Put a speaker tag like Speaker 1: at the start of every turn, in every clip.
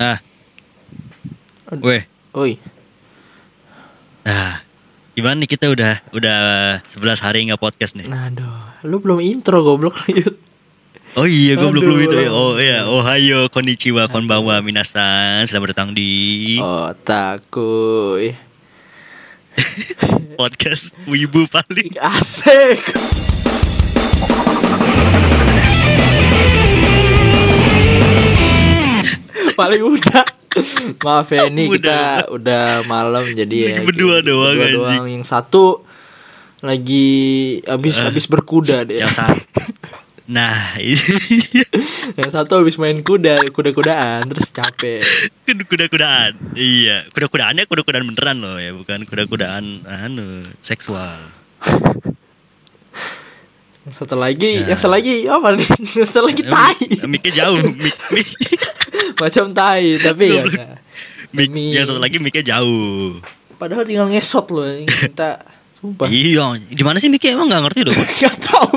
Speaker 1: Ah. Weh,
Speaker 2: Oi,
Speaker 1: nah gimana nih kita udah udah 11 hari nggak podcast nih.
Speaker 2: aduh, lu belum intro goblok lu. Yud.
Speaker 1: Oh iya, gue belum
Speaker 2: Aduh.
Speaker 1: belum itu ya. Oh iya, Ohayo, konnichiwa, konbanwa, minasan, selamat datang di
Speaker 2: Oh. Otakui.
Speaker 1: podcast Wibu paling.
Speaker 2: Asik. Paling udah. Maaf ya ini kita udah malam jadi ya.
Speaker 1: Lagi berdua
Speaker 2: kita-
Speaker 1: doang,
Speaker 2: berdua
Speaker 1: anjing.
Speaker 2: doang. Yang satu lagi habis habis berkuda
Speaker 1: Eh,
Speaker 2: deh.
Speaker 1: Yang salah. Nah,
Speaker 2: Yang satu habis main kuda, kuda-kudaan terus capek.
Speaker 1: kuda-kudaan. Iya, kuda-kudaannya kuda-kudaan beneran loh ya, bukan kuda-kudaan anu seksual.
Speaker 2: Yang satu
Speaker 1: Nah.
Speaker 2: lagi, yang satu lagi apa nih? Yang satu lagi tai.
Speaker 1: Miknya jauh, mik, mik,
Speaker 2: Macam tai tapi ya.
Speaker 1: Goblok.
Speaker 2: udah.
Speaker 1: mik.
Speaker 2: Ini-
Speaker 1: Yang satu lagi miknya jauh.
Speaker 2: Padahal tinggal ngesot loh ini kita sumpah.
Speaker 1: Iya, di mana sih miknya emang nggak ngerti loh.
Speaker 2: Gak tahu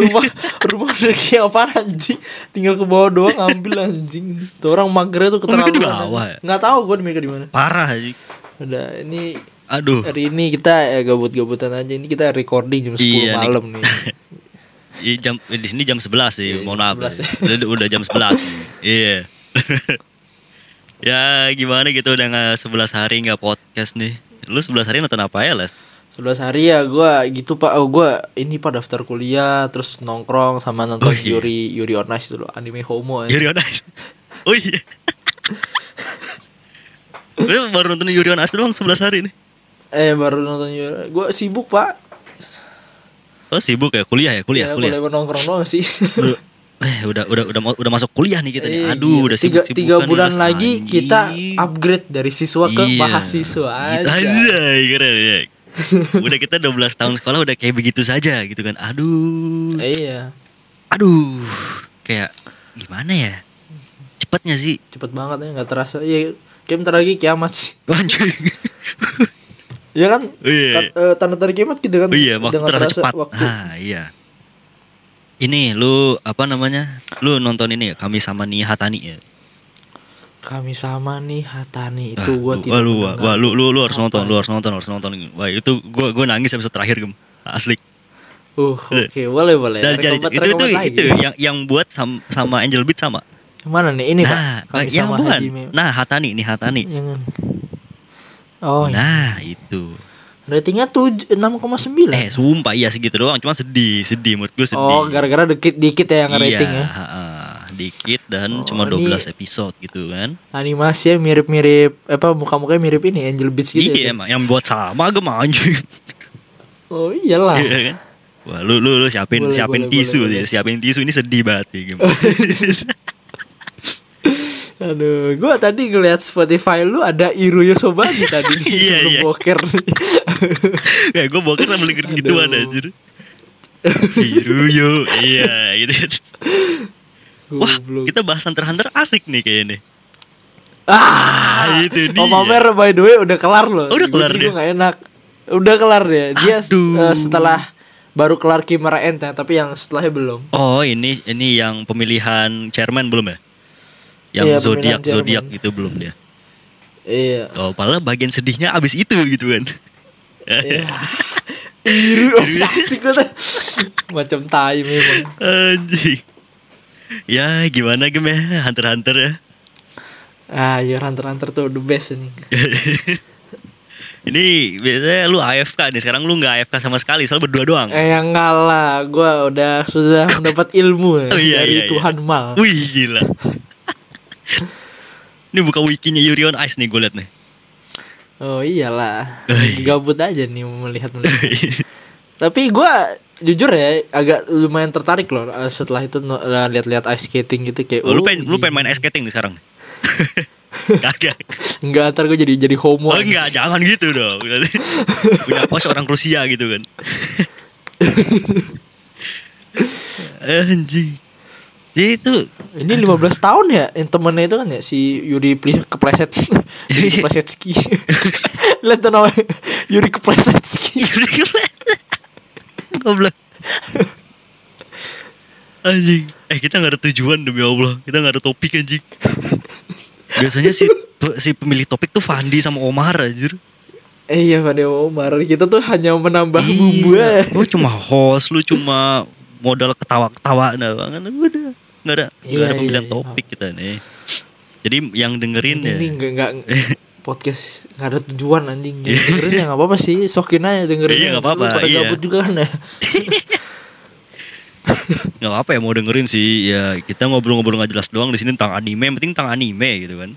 Speaker 2: rumah rumah rezeki apa anjing tinggal ke bawah doang ambil anjing tuh orang magernya tuh
Speaker 1: Oh, mereka
Speaker 2: keterlaluan
Speaker 1: di bawah ya?
Speaker 2: nggak tahu gue mereka di mana
Speaker 1: Parah sih.
Speaker 2: udah ini
Speaker 1: Aduh.
Speaker 2: hari ini kita eh, gabut-gabutan aja ini kita recording jam 10
Speaker 1: Iya, nih.
Speaker 2: malam nih
Speaker 1: Iya, jam eh, di sini jam 11 sih.
Speaker 2: Iya,
Speaker 1: Mohon
Speaker 2: jam
Speaker 1: maaf.
Speaker 2: 11
Speaker 1: ya. Udah, udah jam 11. Iya. ya gimana gitu udah nggak 11 hari nggak podcast nih. Lu 11 hari nonton apa ya, Les?
Speaker 2: 11 hari ya gua gitu pak oh gue ini pak daftar kuliah terus nongkrong sama
Speaker 1: Oh,
Speaker 2: nonton
Speaker 1: iya.
Speaker 2: Yuri Yuri on Ice dulu anime homo ya.
Speaker 1: Yuri on Ice. Oh iya. Lu baru nonton Yuri on Ice doang 11 hari nih.
Speaker 2: eh baru nonton Yuri gue sibuk pak
Speaker 1: Oh sibuk ya kuliah ya kuliah
Speaker 2: Ya,
Speaker 1: kuliah.
Speaker 2: kuliah nongkrong doang sih
Speaker 1: Udah, eh, udah udah udah mau- udah masuk kuliah nih kita
Speaker 2: Eh,
Speaker 1: nih. Aduh,
Speaker 2: gila.
Speaker 1: udah kan
Speaker 2: tiga,
Speaker 1: sibuk sibuk
Speaker 2: tiga bulan lagi kita upgrade dari siswa ke
Speaker 1: Iya.
Speaker 2: mahasiswa
Speaker 1: Gitu
Speaker 2: aja.
Speaker 1: aja, keren ya. udah kita 12 tahun sekolah udah kayak begitu saja gitu kan. Aduh.
Speaker 2: Iya,
Speaker 1: Aduh. Kayak gimana ya? Cepatnya sih.
Speaker 2: cepet banget ya nggak terasa. Iya, kayak bentar lagi kiamat sih.
Speaker 1: Anjir.
Speaker 2: Ya kan?
Speaker 1: Oh, iya.
Speaker 2: Kat- eh, tanda tanda kiamat gitu kan?
Speaker 1: Oh iya, waktu
Speaker 2: Dengan
Speaker 1: terasa cepat.
Speaker 2: Waktu.
Speaker 1: Ah, iya. Ini lu apa namanya? Lu nonton ini ya, kami sama Nia Hatani ya.
Speaker 2: Kami sama nih Hatani itu
Speaker 1: Ah, lu-
Speaker 2: gua tidak.
Speaker 1: wah, lu, wah,
Speaker 2: mendengar.
Speaker 1: wah, lu, lu, lu harus nonton, lu harus nonton, harus nonton. Wah, itu gua gua nangis episode terakhir, Gem. Asli.
Speaker 2: Uh, oke, boleh boleh.
Speaker 1: Dari jari
Speaker 2: Rekomen-
Speaker 1: itu itu,
Speaker 2: rekomen lagi.
Speaker 1: itu yang yang buat sam- sama Angel Beat sama.
Speaker 2: Yang mana nih? Ini Pak.
Speaker 1: Nah,
Speaker 2: Kami
Speaker 1: yang
Speaker 2: sama
Speaker 1: bukan.
Speaker 2: Hajime.
Speaker 1: Nah, Hatani nih Hatani.
Speaker 2: Yang ini. Oh, iya.
Speaker 1: Nah, itu.
Speaker 2: ratingnya tuj- 6,9.
Speaker 1: Eh, sumpah iya segitu doang, cuma sedih, sedih menurut gue sedih.
Speaker 2: oh, gara-gara dikit dikit ya yang rating
Speaker 1: iya,
Speaker 2: ya. Oh,
Speaker 1: ha-ha. dikit dan cuma
Speaker 2: ini-
Speaker 1: 12 episode gitu kan.
Speaker 2: animasinya mirip-mirip apa muka-mukanya mirip ini Angel Beats gitu.
Speaker 1: iya,
Speaker 2: ya, Tin?
Speaker 1: emang yang buat sama gem anjing.
Speaker 2: Oh iyalah.
Speaker 1: Iya kan? Wah, lu lu, lu siapin
Speaker 2: Boleh,
Speaker 1: siapin
Speaker 2: boleh,
Speaker 1: tisu
Speaker 2: boleh,
Speaker 1: sih, siapin tisu ini sedih banget ya, Gem.
Speaker 2: Aduh, gua tadi ngeliat Spotify lu ada Iru Yosobagi tadi nih,
Speaker 1: Iya,
Speaker 2: sebelum
Speaker 1: iya.
Speaker 2: boker.
Speaker 1: Kayak gue boker sambil dengerin gituan
Speaker 2: Aduh.
Speaker 1: anjir. Hiru yo, iya gitu kan. Wah, gitu.
Speaker 2: Goblok.
Speaker 1: kita bahas Hunter x Hunter asik nih kayaknya nih.
Speaker 2: Ah,
Speaker 1: Ah, itu dia.
Speaker 2: Om Amer by the way udah kelar loh.
Speaker 1: Oh, udah kelar
Speaker 2: Jadi
Speaker 1: dia?
Speaker 2: gua nggak enak. Udah kelar dia. Dia
Speaker 1: Aduh.
Speaker 2: eh, setelah baru kelar Kimura Ant ya, tapi yang setelahnya belum.
Speaker 1: Oh, ini ini yang pemilihan chairman belum ya? Yang
Speaker 2: Iya,
Speaker 1: zodiak
Speaker 2: pemilihan chairman.
Speaker 1: zodiak itu belum dia.
Speaker 2: Iya.
Speaker 1: Oh, padahal bagian sedihnya abis itu gitu kan.
Speaker 2: iya. Iru Yosobagi gua tuh. Macam tai memang.
Speaker 1: Anjing. Ya, gimana gem ya Hunter x Hunter ya?
Speaker 2: Ah, Your Hunter x Hunter tuh the best ini.
Speaker 1: ini biasanya lu AFK nih, sekarang lu nggak AFK sama sekali, soal berdua doang.
Speaker 2: Eh yang kalah, gue udah sudah mendapat ilmu ya,
Speaker 1: Oh, iya,
Speaker 2: dari
Speaker 1: iya, iya.
Speaker 2: Tuhan Mal.
Speaker 1: Wih, gila. ini buka wikinya Yuri on Ice nih gue liat nih.
Speaker 2: Oh iyalah,
Speaker 1: Oh, iya.
Speaker 2: gabut aja nih melihat melihat. Tapi gue jujur ya agak lumayan tertarik loh eh, setelah itu no- eh, lihat-lihat ice skating gitu kayak.
Speaker 1: Oh, lu
Speaker 2: oh,
Speaker 1: pengen lu
Speaker 2: ini-
Speaker 1: pengen main ice skating nih sekarang. Kagak.
Speaker 2: Enggak ntar gue jadi jadi homo.
Speaker 1: Oh
Speaker 2: aja.
Speaker 1: enggak, jangan gitu dong. Punya pos orang Rusia gitu kan. Anjing. Jadi itu
Speaker 2: Ini 15 tahun ya yang temennya itu kan ya si Yuri pli- kepleset, Yuri kepleset ski. Lihat tuh namanya Yuri kepleset ski.
Speaker 1: Yuri kepleset. Goblok. Anjing. Eh kita gak ada tujuan demi Allah. Kita gak ada topik anjing. Biasanya si pe- si pemilih topik tuh Fandi sama Omar anjir.
Speaker 2: Eh iya Fadil Omar Kita tuh hanya menambah bumbu
Speaker 1: Iya.
Speaker 2: aja.
Speaker 1: Lu cuma host, lu cuma modal ketawa-ketawa doang. Udah. Enggak ada nggak
Speaker 2: Iya,
Speaker 1: ada pemilihan
Speaker 2: iya, iya.
Speaker 1: topik kita nih. Jadi yang dengerin ya.
Speaker 2: Ini enggak enggak podcast nggak ada tujuan anjing Yang dengerin ya nggak apa-apa sih sokin aja dengerin ya.
Speaker 1: Iya, nggak apa-apa,
Speaker 2: Lu pada
Speaker 1: iya.
Speaker 2: gabut juga kan ya
Speaker 1: nggak apa ya mau dengerin sih ya kita ngobrol-ngobrol nggak jelas doang di sini tentang anime yang penting tentang anime gitu kan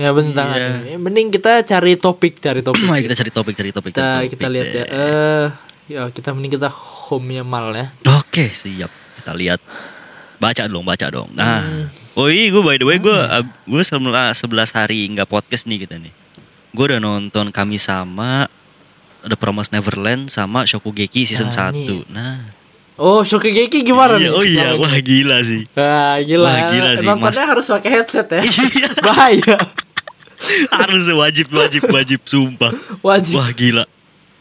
Speaker 2: ya bentar
Speaker 1: Iya.
Speaker 2: Ya, mending kita cari topik cari topik
Speaker 1: Mari kita cari topik cari topik
Speaker 2: kita
Speaker 1: cari topik
Speaker 2: kita lihat ya
Speaker 1: deh.
Speaker 2: eh ya kita mending kita home nya mal ya
Speaker 1: oke siap kita lihat baca dong baca dong nah
Speaker 2: Hmm.
Speaker 1: oh iya gue by the way gue ab- gue sebelah sebelas hari nggak podcast nih kita nih gue udah nonton kami sama The Promised Neverland sama Shokugeki season
Speaker 2: Nah,
Speaker 1: 1 Nah
Speaker 2: oh Shokugeki gimana
Speaker 1: iya,
Speaker 2: nih
Speaker 1: Oh iya
Speaker 2: Sekarang?
Speaker 1: Wah gila sih
Speaker 2: Wah, gila.
Speaker 1: Wah, gila sih,
Speaker 2: Nontonnya
Speaker 1: Mas.
Speaker 2: harus pakai headset ya.
Speaker 1: Iya.
Speaker 2: Bahaya.
Speaker 1: Harus wajib wajib wajib Sumpah
Speaker 2: Wajib.
Speaker 1: Wah gila.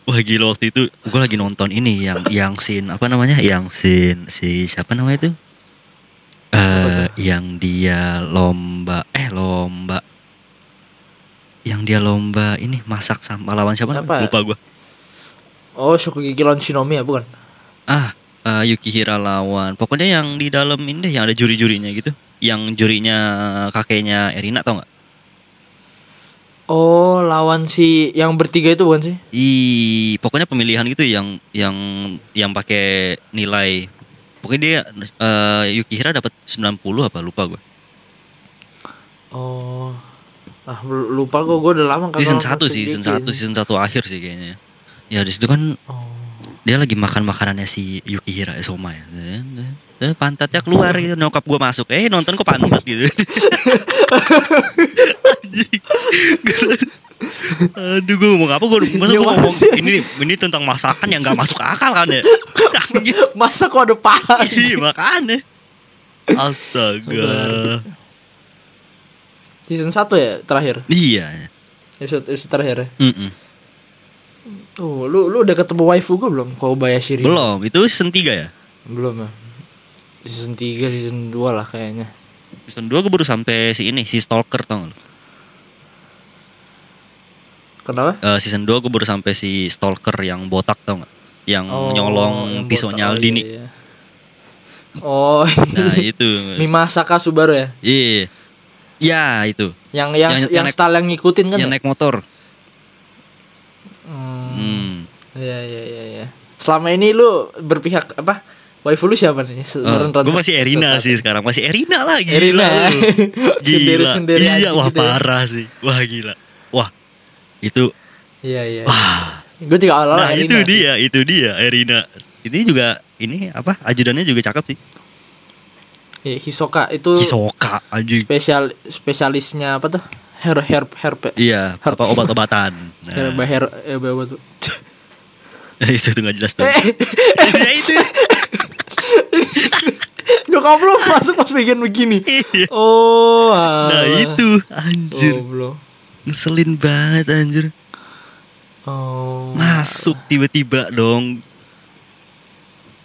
Speaker 1: Wah gila waktu itu gue lagi nonton ini yang yang scene apa namanya? Yang scene si siapa namanya itu? Eh yang dia lomba eh lomba yang dia lomba ini masak sama lawan siapa? namanya?
Speaker 2: Apa?
Speaker 1: Lupa gue.
Speaker 2: Oh, Shokugeki lawan Shinomi ya, bukan?
Speaker 1: Ah, eh, Yukihira lawan. Pokoknya yang di dalam ini deh yang ada juri-jurinya gitu. Yang jurinya kakeknya Erina tau nggak?
Speaker 2: Oh, lawan si yang bertiga itu bukan sih?
Speaker 1: I pokoknya pemilihan gitu yang yang yang pakai nilai. Pokoknya dia eh, Yukihira dapat 90 apa lupa gue.
Speaker 2: Oh. Ah, bel- lupa kok gue udah lama kagak
Speaker 1: Season
Speaker 2: nonton
Speaker 1: 1 sih, season
Speaker 2: Shokugeki
Speaker 1: 1, season 1 akhir sih kayaknya. Ya di situ kan
Speaker 2: ini. Oh.
Speaker 1: dia lagi makan makanannya si Yukihira eh, Soma ya. Eh, pantatnya keluar gitu nyokap gue masuk eh nonton kok pantat gitu Anjing. aduh gue ngomong apa gue masa gue
Speaker 2: Gimana
Speaker 1: ngomong
Speaker 2: sih?
Speaker 1: ini ini tentang masakan yang nggak masuk akal kan ya Anjing.
Speaker 2: Masa kok ada paha?
Speaker 1: Iya makanya Astaga
Speaker 2: season 1 ya terakhir. ya.
Speaker 1: Iya
Speaker 2: Episode episode terakhir ya.
Speaker 1: Mm-mm.
Speaker 2: Oh, lu lu udah ketemu waifu gue belum? Kobayashi Rin.
Speaker 1: Belum Itu season 3 ya
Speaker 2: Belum ya. Season 3, season 2 lah kayaknya.
Speaker 1: Season 2 gue baru sampai si ini Si Stalker tau gak lu?
Speaker 2: Kenapa?
Speaker 1: Eh, Season 2 gue baru sampai si Stalker yang botak tau gak Yang Hmm, nyolong
Speaker 2: Oh, yang
Speaker 1: pisaunya
Speaker 2: botak. Oh,
Speaker 1: Aldini
Speaker 2: iya, iya. Oh,
Speaker 1: Nah itu
Speaker 2: Mima Saka Subaru ya?
Speaker 1: Iya Ya itu
Speaker 2: Yang yang
Speaker 1: Yang-
Speaker 2: yang,
Speaker 1: yang naik-
Speaker 2: style yang ngikutin kan?
Speaker 1: Yang
Speaker 2: ya?
Speaker 1: naik motor
Speaker 2: Hmm,
Speaker 1: Hmm.
Speaker 2: Iya iya iya iya. Selama ini lu berpihak apa? Waifu lu siapa nih? Se-
Speaker 1: Eh,
Speaker 2: Ron- Ron-
Speaker 1: gue masih Erina
Speaker 2: Ron-
Speaker 1: sih sekarang masih Erina lagi
Speaker 2: Erina ya.
Speaker 1: gila
Speaker 2: Sendiri-sendiri
Speaker 1: iya
Speaker 2: aja
Speaker 1: wah
Speaker 2: gitu ya.
Speaker 1: parah sih wah gila wah itu
Speaker 2: Iya iya.
Speaker 1: wah
Speaker 2: Gue juga awal
Speaker 1: nah itu dia itu dia Erina ini juga ini apa ajudannya juga cakep sih
Speaker 2: Iya, Hisoka itu
Speaker 1: Hisoka aja
Speaker 2: spesial spesialisnya apa tuh? Hair hair hair pe-
Speaker 1: iya
Speaker 2: Herb.
Speaker 1: apa obat-obatan nah,
Speaker 2: hair by hair eh, by what-
Speaker 1: itu tuh nggak jelas tuh
Speaker 2: Eh.
Speaker 1: ya itu
Speaker 2: Nyokap lu masuk pas bikin begini.
Speaker 1: Iya.
Speaker 2: Oh.
Speaker 1: nah
Speaker 2: alah.
Speaker 1: itu anjir
Speaker 2: Goblok.
Speaker 1: ngeselin banget anjir
Speaker 2: Oh.
Speaker 1: Nah. masuk tiba-tiba dong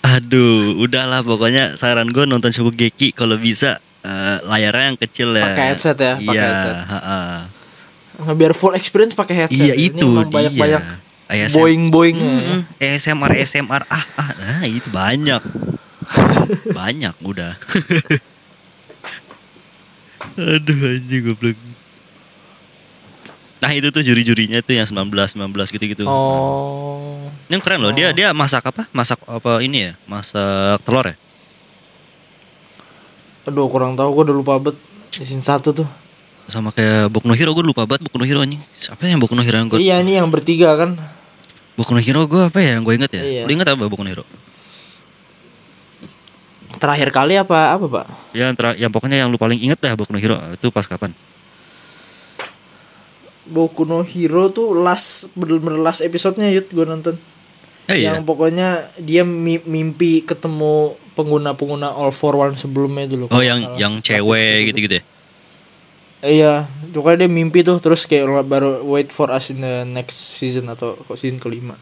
Speaker 1: aduh udahlah pokoknya saran gue nonton Shokugeki kalau bisa eh, layarnya yang kecil ya
Speaker 2: Pakai headset ya, pakai
Speaker 1: iya
Speaker 2: headset.
Speaker 1: ha-ha.
Speaker 2: Nggak Nah, biar full experience pakai headset.
Speaker 1: iya
Speaker 2: Ini
Speaker 1: itu
Speaker 2: emang banyak-banyak
Speaker 1: dia. Iya. ASMR.
Speaker 2: boing-boing.
Speaker 1: Mm, ASMR ASMR ah ah nah itu banyak banyak udah aduh anjing goblok nah itu tuh juri-jurinya tuh yang 19 19 gitu-gitu
Speaker 2: Oh.
Speaker 1: Yang keren loh, dia
Speaker 2: Oh.
Speaker 1: dia masak apa? Masak apa ini ya? Masak telur ya?
Speaker 2: Aduh kurang tahu gue udah lupa bet. Season satu tuh.
Speaker 1: Sama kayak Boku no Hero, gue lupa banget Boku no Hero anjing. Apa yang Boku no Hero yang gue?
Speaker 2: Iya ini yang bertiga kan.
Speaker 1: Boku no Hero gue apa ya yang gue inget ya?
Speaker 2: Iya.
Speaker 1: Lu inget apa Boku no Hero?
Speaker 2: Terakhir kali apa apa pak?
Speaker 1: Ya, antara, yang pokoknya yang lu paling inget dah Boku no Hero itu pas kapan?
Speaker 2: Boku no Hero tuh last bener-bener last episode-nya yut gue nonton.
Speaker 1: Eh, iya.
Speaker 2: Yang pokoknya dia mi- mimpi ketemu pengguna-pengguna All For One sebelumnya dulu.
Speaker 1: Oh yang yang cewek gitu-gitu ya?
Speaker 2: Iya, pokoknya dia mimpi tuh terus kayak baru wait for us in the next season atau kok season kelima.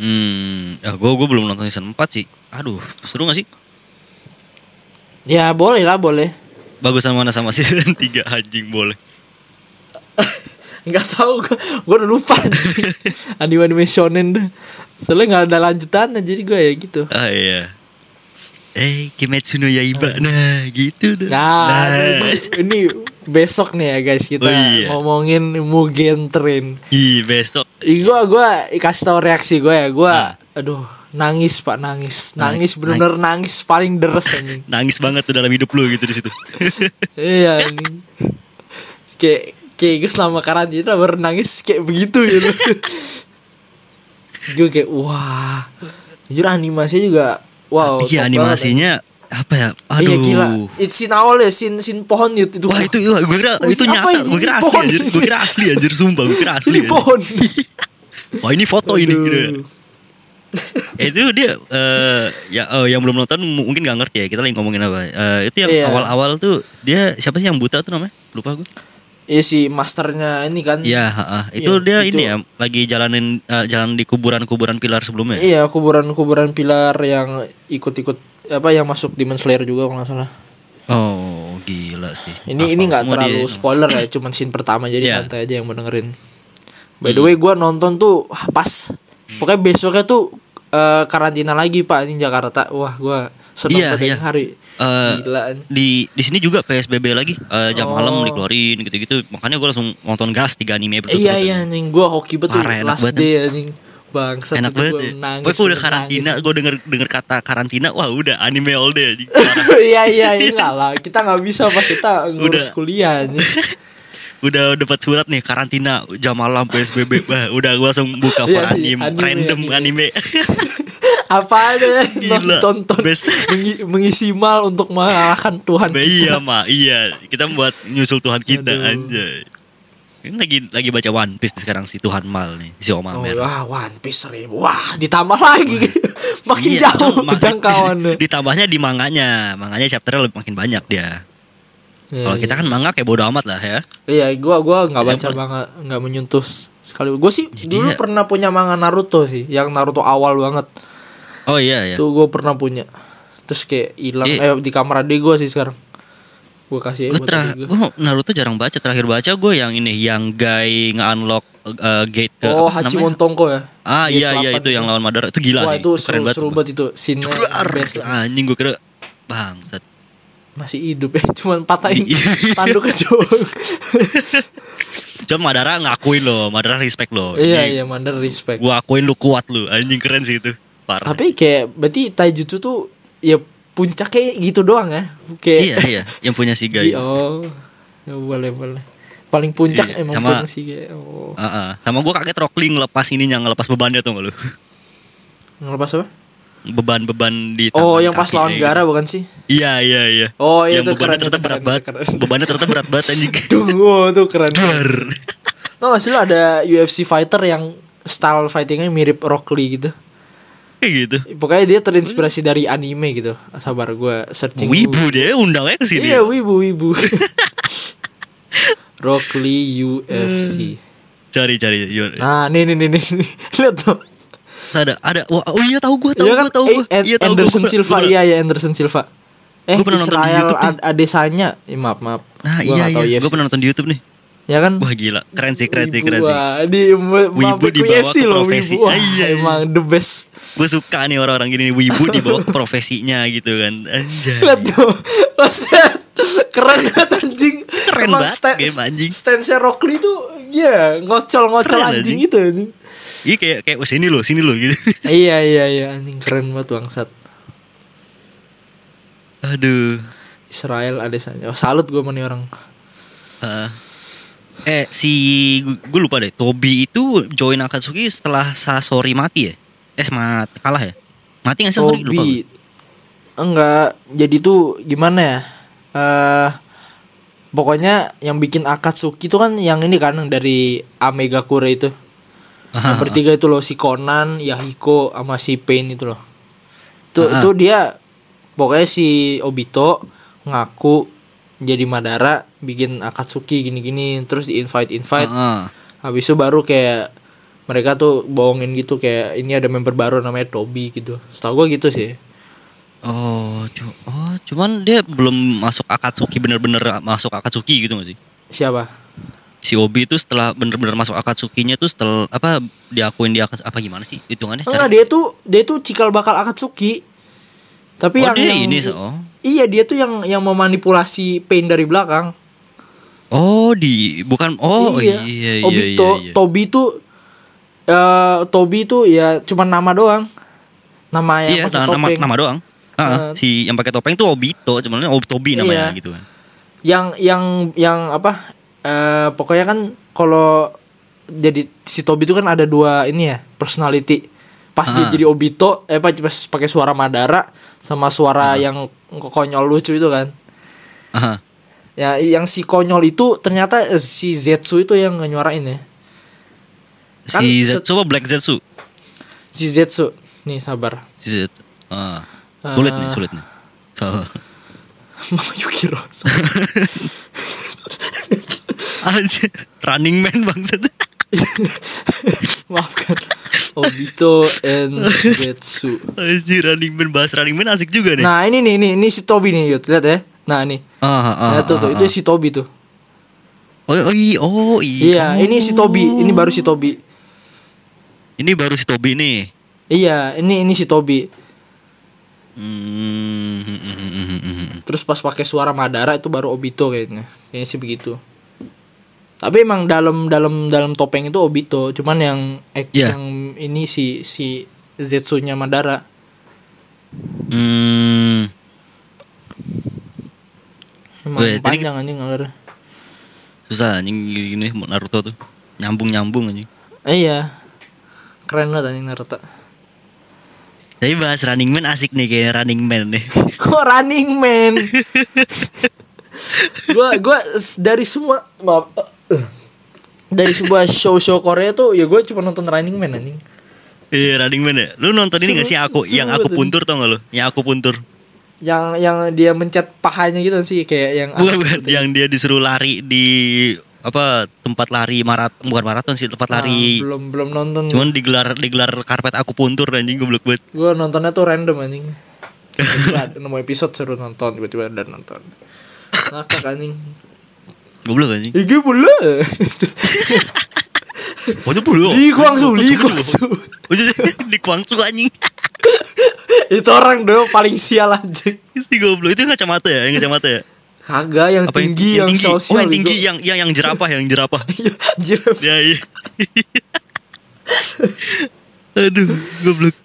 Speaker 1: Hmm, ya gue gue belum nonton season 4 sih. Aduh, seru gak sih?
Speaker 2: Ya boleh lah boleh.
Speaker 1: Bagus sama mana sama season 3 anjing boleh.
Speaker 2: nggak tahu gue gue udah lupa anjing. anime anime shonen dah soalnya nggak ada lanjutannya jadi gue ya gitu
Speaker 1: Oh iya. Eh, Kimetsu no Yaiba. Nah, gitu dah.
Speaker 2: Oh. nah, ini- ini besok nih ya guys kita
Speaker 1: Oh, iya.
Speaker 2: ngomongin Mugen Train
Speaker 1: Ih, besok.
Speaker 2: Ih, gua gua kasih tau reaksi gue ya gue aduh nangis pak nangis nangis bener-bener nangis paling deres anjing
Speaker 1: Nangis banget tuh dalam hidup lu gitu di situ.
Speaker 2: iya anjing kayak kayak gue selama karantina baru nangis kayak begitu gitu gue kayak wah jujur animasinya juga wow
Speaker 1: Iya,
Speaker 2: Oh, top
Speaker 1: animasinya apa ya?
Speaker 2: banget.
Speaker 1: Aduh.
Speaker 2: iya gila it's sin awal ya sin sin pohon itu itu
Speaker 1: Wah itu wah, gue kira
Speaker 2: Wih,
Speaker 1: itu
Speaker 2: apa
Speaker 1: nyata,
Speaker 2: ini?
Speaker 1: gue kira
Speaker 2: Ini
Speaker 1: asli
Speaker 2: pohon.
Speaker 1: anjir, gue kira asli anjir, sumpah gue kira asli. ya.
Speaker 2: ini
Speaker 1: anjir.
Speaker 2: pohon
Speaker 1: Wah ini foto ini.
Speaker 2: Aduh.
Speaker 1: gitu. Eh, itu dia eh, ya oh, yang belum nonton m- mungkin gak ngerti ya kita lagi ngomongin apa. Eh, itu yang
Speaker 2: Iya.
Speaker 1: awal-awal tuh dia siapa sih yang buta tuh namanya? Lupa gue.
Speaker 2: iya si masternya ini kan
Speaker 1: Iya, heeh. itu
Speaker 2: Iya,
Speaker 1: dia
Speaker 2: itu.
Speaker 1: ini ya lagi jalanin eh, jalan di kuburan-kuburan pilar sebelumnya.
Speaker 2: iya kuburan-kuburan pilar yang ikut-ikut apa yang masuk Demon Slayer juga kalau nggak salah
Speaker 1: Oh, gila sih. Apa
Speaker 2: ini ini nggak
Speaker 1: semua
Speaker 2: terlalu
Speaker 1: dia.
Speaker 2: spoiler ya cuman scene pertama jadi
Speaker 1: Iya. Hmm.
Speaker 2: santai aja yang mau dengerin by the way gue nonton tuh wah, pas pokoknya besoknya tuh eh, karantina lagi pak ini Jakarta wah gue seneng
Speaker 1: Iya,
Speaker 2: banget
Speaker 1: iya.
Speaker 2: ini hari
Speaker 1: Eh,
Speaker 2: gila Iya, ini.
Speaker 1: di di sini juga PSBB lagi eh, jam
Speaker 2: Oh.
Speaker 1: malam dikeluarin gitu-gitu makanya gue langsung nonton gas tiga anime berturut-turut.
Speaker 2: iya iya anjing gue hoki betul
Speaker 1: Parah, enak
Speaker 2: last
Speaker 1: banget,
Speaker 2: day anjing bangsa
Speaker 1: enak banget ya. Pokoknya gue udah karantina, gue denger denger kata karantina, wah udah anime all day. anjing. Parah.
Speaker 2: iya iya enggak lah kita nggak bisa pak kita ngurus
Speaker 1: Udah.
Speaker 2: kuliah anjing.
Speaker 1: udah dapat surat nih karantina jam malam PSBB. Wah, udah gue langsung buka for
Speaker 2: Iya,
Speaker 1: anime,
Speaker 2: iya, anime,
Speaker 1: random anime.
Speaker 2: apa aja
Speaker 1: Gila,
Speaker 2: ya? nonton
Speaker 1: best.
Speaker 2: mengi- mengisi mal untuk mengalahkan Tuhan
Speaker 1: Bah, iya ma, iya kita buat nyusul Tuhan kita
Speaker 2: Aduh.
Speaker 1: anjay. Ini lagi lagi baca One Piece nih sekarang si Tuhan Mal nih, si Oma
Speaker 2: Oh,
Speaker 1: Mer.
Speaker 2: wah, One Piece seribu. Wah, ditambah lagi. Makin
Speaker 1: Iya,
Speaker 2: jauh
Speaker 1: cuma-
Speaker 2: jangkauannya.
Speaker 1: Ditambahnya di manganya, manganya chapternya lebih makin banyak dia.
Speaker 2: Iya,
Speaker 1: Kalau kita kan manga kayak bodo amat lah ya.
Speaker 2: iya, gua gua nggak baca
Speaker 1: Yang
Speaker 2: manga, nggak menyentuh sekali. Gue sih dulu
Speaker 1: iya.
Speaker 2: pernah punya manga Naruto sih, yang Naruto awal banget.
Speaker 1: Oh iya iya.
Speaker 2: Tuh gue pernah punya. Terus kayak hilang
Speaker 1: Iya.
Speaker 2: eh di kamar adik gue sih sekarang. Gue kasih aja
Speaker 1: gue
Speaker 2: buat
Speaker 1: terakhir
Speaker 2: adik iya, gua.
Speaker 1: gue Naruto jarang baca terakhir baca gue yang ini yang guy nge-unlock uh, gate ke
Speaker 2: Oh,
Speaker 1: apa namanya?
Speaker 2: Hachimon Tongko ya.
Speaker 1: ah
Speaker 2: Gate
Speaker 1: iya iya
Speaker 2: 8
Speaker 1: itu yang lawan Madara itu gila
Speaker 2: Wah,
Speaker 1: sih
Speaker 2: itu seru, seru
Speaker 1: tuh.
Speaker 2: banget itu. Scene-nya
Speaker 1: Duar,
Speaker 2: best.
Speaker 1: anjing gue kira bangsat
Speaker 2: masih hidup ya, cuman patahin
Speaker 1: Iya.
Speaker 2: tanduknya doang.
Speaker 1: cuma Madara ngakuin loh Madara respect loh
Speaker 2: iya, iya, Mandar respect.
Speaker 1: gue akuin lu kuat lu anjing keren sih itu parah
Speaker 2: Tapi kayak berarti taijutsu tuh ya puncaknya gitu doang ya. Kayak
Speaker 1: iya iya yang punya si guy
Speaker 2: Oh. Ya, boleh boleh. Paling puncak
Speaker 1: Iya,
Speaker 2: emang
Speaker 1: sama-
Speaker 2: pun sih kayak oh.
Speaker 1: Ah, ah. sama gue kaget Rockling lepas ininya ngelepas bebannya tuh lu
Speaker 2: Ngelepas apa?
Speaker 1: beban-beban di
Speaker 2: Oh,
Speaker 1: tangan
Speaker 2: yang pas
Speaker 1: kaki
Speaker 2: lawan
Speaker 1: kayak gitu.
Speaker 2: Gara bukan sih?
Speaker 1: iya iya iya
Speaker 2: Oh, iya,
Speaker 1: yang
Speaker 2: itu
Speaker 1: bebannya
Speaker 2: keren,
Speaker 1: ternyata
Speaker 2: itu
Speaker 1: berat
Speaker 2: keren,
Speaker 1: banget
Speaker 2: itu keren.
Speaker 1: bebannya ternyata berat banget anjing
Speaker 2: Tuh, wow, oh, tuh keren.
Speaker 1: Duar.
Speaker 2: Tau gak sih lu ada UFC fighter yang style fightingnya mirip Rock Lee gitu.
Speaker 1: Kayak gitu.
Speaker 2: Pokoknya dia terinspirasi dari anime gitu. Sabar gue searching. dulu.
Speaker 1: Wibu dia undangnya ke sini.
Speaker 2: Iya, wibu wibu. Rock Lee UFC.
Speaker 1: Hmm. Cari cari. Yur.
Speaker 2: Nah, nih nih nih nih. nih. Lihat tuh.
Speaker 1: Terus Ada ada. Wah, oh iya tahu gua tahu
Speaker 2: Iya kan?
Speaker 1: gua tahu
Speaker 2: Eh,
Speaker 1: gua.
Speaker 2: Ed-
Speaker 1: Iya tahu gua.
Speaker 2: Anderson
Speaker 1: Gua pernah-
Speaker 2: Silva,
Speaker 1: gua pernah-
Speaker 2: iya ya Anderson Silva. Eh,
Speaker 1: Gua pernah nonton di
Speaker 2: Israel
Speaker 1: YouTube nih.
Speaker 2: Ad Adesanya, eh, maaf maaf.
Speaker 1: Nah,
Speaker 2: Gua
Speaker 1: iya
Speaker 2: nggak tahu
Speaker 1: iya.
Speaker 2: UFC.
Speaker 1: Gua pernah nonton di YouTube nih.
Speaker 2: Ya kan?
Speaker 1: Wah gila. Keren sih, keren sih, keren
Speaker 2: Wibu,
Speaker 1: sih.
Speaker 2: wah, di Wibu
Speaker 1: dibawa ke
Speaker 2: UFC loh,
Speaker 1: profesi.
Speaker 2: Wibu. Wah,
Speaker 1: Iya, iya.
Speaker 2: emang the best.
Speaker 1: Gua suka nih orang-orang gini nih wibu dibawa ke profesinya gitu kan. Anjay.
Speaker 2: Lihat tuh, Buset. keren banget anjing.
Speaker 1: Keren
Speaker 2: emang
Speaker 1: banget
Speaker 2: sta-
Speaker 1: game, anjing.
Speaker 2: Stance-nya Rock Lee tuh, iya, ngocol-ngocol
Speaker 1: Keren,
Speaker 2: anjing,
Speaker 1: anjing.
Speaker 2: itu anjing.
Speaker 1: Iya kayak kayak oh, sini loh, sini loh gitu.
Speaker 2: iya, iya, iya, anjing keren banget bangsat.
Speaker 1: Aduh.
Speaker 2: Israel Adesanya. Oh, salut gue sama nih orang.
Speaker 1: Ah. eh si gue lupa deh. Tobi itu join Akatsuki setelah Sasori mati ya? Eh mat kalah ya? Mati nggak sih Sasori? Lupa gua.
Speaker 2: Hobi Enggak Jadi tuh gimana ya eh Pokoknya yang bikin Akatsuki itu kan yang ini kan yang dari Amega Kure itu Yang bertiga itu loh si Conan, Yahiko, sama si Pain itu loh Itu,
Speaker 1: Ah.
Speaker 2: itu dia Pokoknya si Obito ngaku jadi Madara bikin Akatsuki gini-gini terus di invite invite
Speaker 1: Ah, ah.
Speaker 2: habis itu baru kayak mereka tuh bohongin gitu kayak ini ada member baru namanya Toby gitu setahu gue gitu sih
Speaker 1: Oh, cu- oh, cuman dia belum masuk Akatsuki bener-bener masuk Akatsuki gitu gak sih?
Speaker 2: siapa
Speaker 1: si Obi itu setelah bener-bener masuk Akatsuki-nya tuh setelah apa diakuin di Akatsuki apa gimana sih hitungannya? Cara-
Speaker 2: Enggak dia tuh dia tuh cikal bakal Akatsuki. Tapi
Speaker 1: Oh,
Speaker 2: yang,
Speaker 1: dia
Speaker 2: yang-
Speaker 1: ini, so.
Speaker 2: Iya dia tuh yang yang memanipulasi Pain dari belakang.
Speaker 1: Oh di bukan oh iya iya iya.
Speaker 2: Obi to,
Speaker 1: iya.
Speaker 2: Tobi tuh eh Tobi tuh ya cuman nama doang. Nama yang
Speaker 1: Iya,
Speaker 2: pakai
Speaker 1: nah, nama
Speaker 2: topeng.
Speaker 1: nama doang. Ah,
Speaker 2: Eh.
Speaker 1: si yang pakai topeng tuh Obito, cuman Ob Tobi namanya
Speaker 2: Iya.
Speaker 1: gitu kan.
Speaker 2: Yang yang yang apa? eh pokoknya kan kalau jadi si Tobi tuh kan ada dua ini ya, personality. Pas dia
Speaker 1: Ah.
Speaker 2: jadi Obito, eh pas pas pakai suara Madara sama suara yang konyol lucu itu kan.
Speaker 1: Aha.
Speaker 2: Ya, yang si konyol itu ternyata eh, si Zetsu itu yang nyuarain ya. Kan
Speaker 1: Si
Speaker 2: set-
Speaker 1: Zetsu apa Black Zetsu?
Speaker 2: Si Zetsu. Nih sabar.
Speaker 1: Si Zetsu. Ah. Sulit nih,
Speaker 2: Eh.
Speaker 1: sulit nih. So,
Speaker 2: Mama Yukiro.
Speaker 1: anjir, running man bangsat.
Speaker 2: Maafkan. Obito and Zetsu.
Speaker 1: Anjir, running man bahas running man asik juga nih.
Speaker 2: Nah, ini nih ini ini si Tobi nih, Yud. Lihat ya. Nah, nih.
Speaker 1: Ah, ah,
Speaker 2: Nah, tuh, tuh.
Speaker 1: ah,
Speaker 2: itu
Speaker 1: ah.
Speaker 2: si Tobi tuh.
Speaker 1: Oh, oh, iya, oh, iya.
Speaker 2: Iya, ini si Tobi, ini baru si Tobi.
Speaker 1: Ini baru si Tobi nih.
Speaker 2: Iya, ini ini si Tobi.
Speaker 1: Hmm.
Speaker 2: Terus pas pakai suara Madara itu baru Obito kayaknya. Kayaknya sih begitu. Tapi emang dalam dalam dalam topeng itu Obito, cuman yang ek-
Speaker 1: Iya.
Speaker 2: yang ini si si Zetsunya Madara.
Speaker 1: Hmm.
Speaker 2: Emang
Speaker 1: Weh, jadi-
Speaker 2: panjang anjing ngalor.
Speaker 1: Susah anjing gini Naruto tuh. Nyambung-nyambung anjing.
Speaker 2: Eh, iya. Keren banget anjing Naruto.
Speaker 1: Tapi bahas Running Man asik nih kayaknya Running Man nih.
Speaker 2: Kok running man? gua gua s- dari semua maaf eh, dari sebuah show-show Korea tuh ya gue cuma nonton Running Man anjing.
Speaker 1: Iya Running Man ya. Lu nonton ini gak sih
Speaker 2: Seru-
Speaker 1: aku
Speaker 2: seru
Speaker 1: yang aku
Speaker 2: banget
Speaker 1: puntur tau gak lu? Yang aku puntur.
Speaker 2: Yang yang dia mencet pahanya gitu sih kayak yang ah,
Speaker 1: Bukan, bukan. yang dia disuruh lari di apa tempat lari marat bukan maraton sih tempat
Speaker 2: Ah,
Speaker 1: lari
Speaker 2: belum belum nonton.
Speaker 1: cuman digelar digelar karpet aku puntur anjing goblok banget
Speaker 2: Gue nontonnya tuh random anjing. Tiba-tiba ada- nemu episode suruh nonton tiba-tiba ada nonton. Ngakak anjing.
Speaker 1: goblok anjing
Speaker 2: Iki pula.
Speaker 1: waktu dulu
Speaker 2: Li Kwangsu, Li Kwangsu.
Speaker 1: di Kwangsu anjing
Speaker 2: Itu orang dong paling sial anjing.
Speaker 1: si goblok itu yang kacamata ya yang kacamata ya
Speaker 2: Kagak yang
Speaker 1: apa yang-
Speaker 2: tinggi yang,
Speaker 1: tinggi oh
Speaker 2: sosial.
Speaker 1: yang tinggi
Speaker 2: bego.
Speaker 1: yang yang yang jerapah yang jerapah
Speaker 2: Iya, anjir.
Speaker 1: ya iya aduh goblok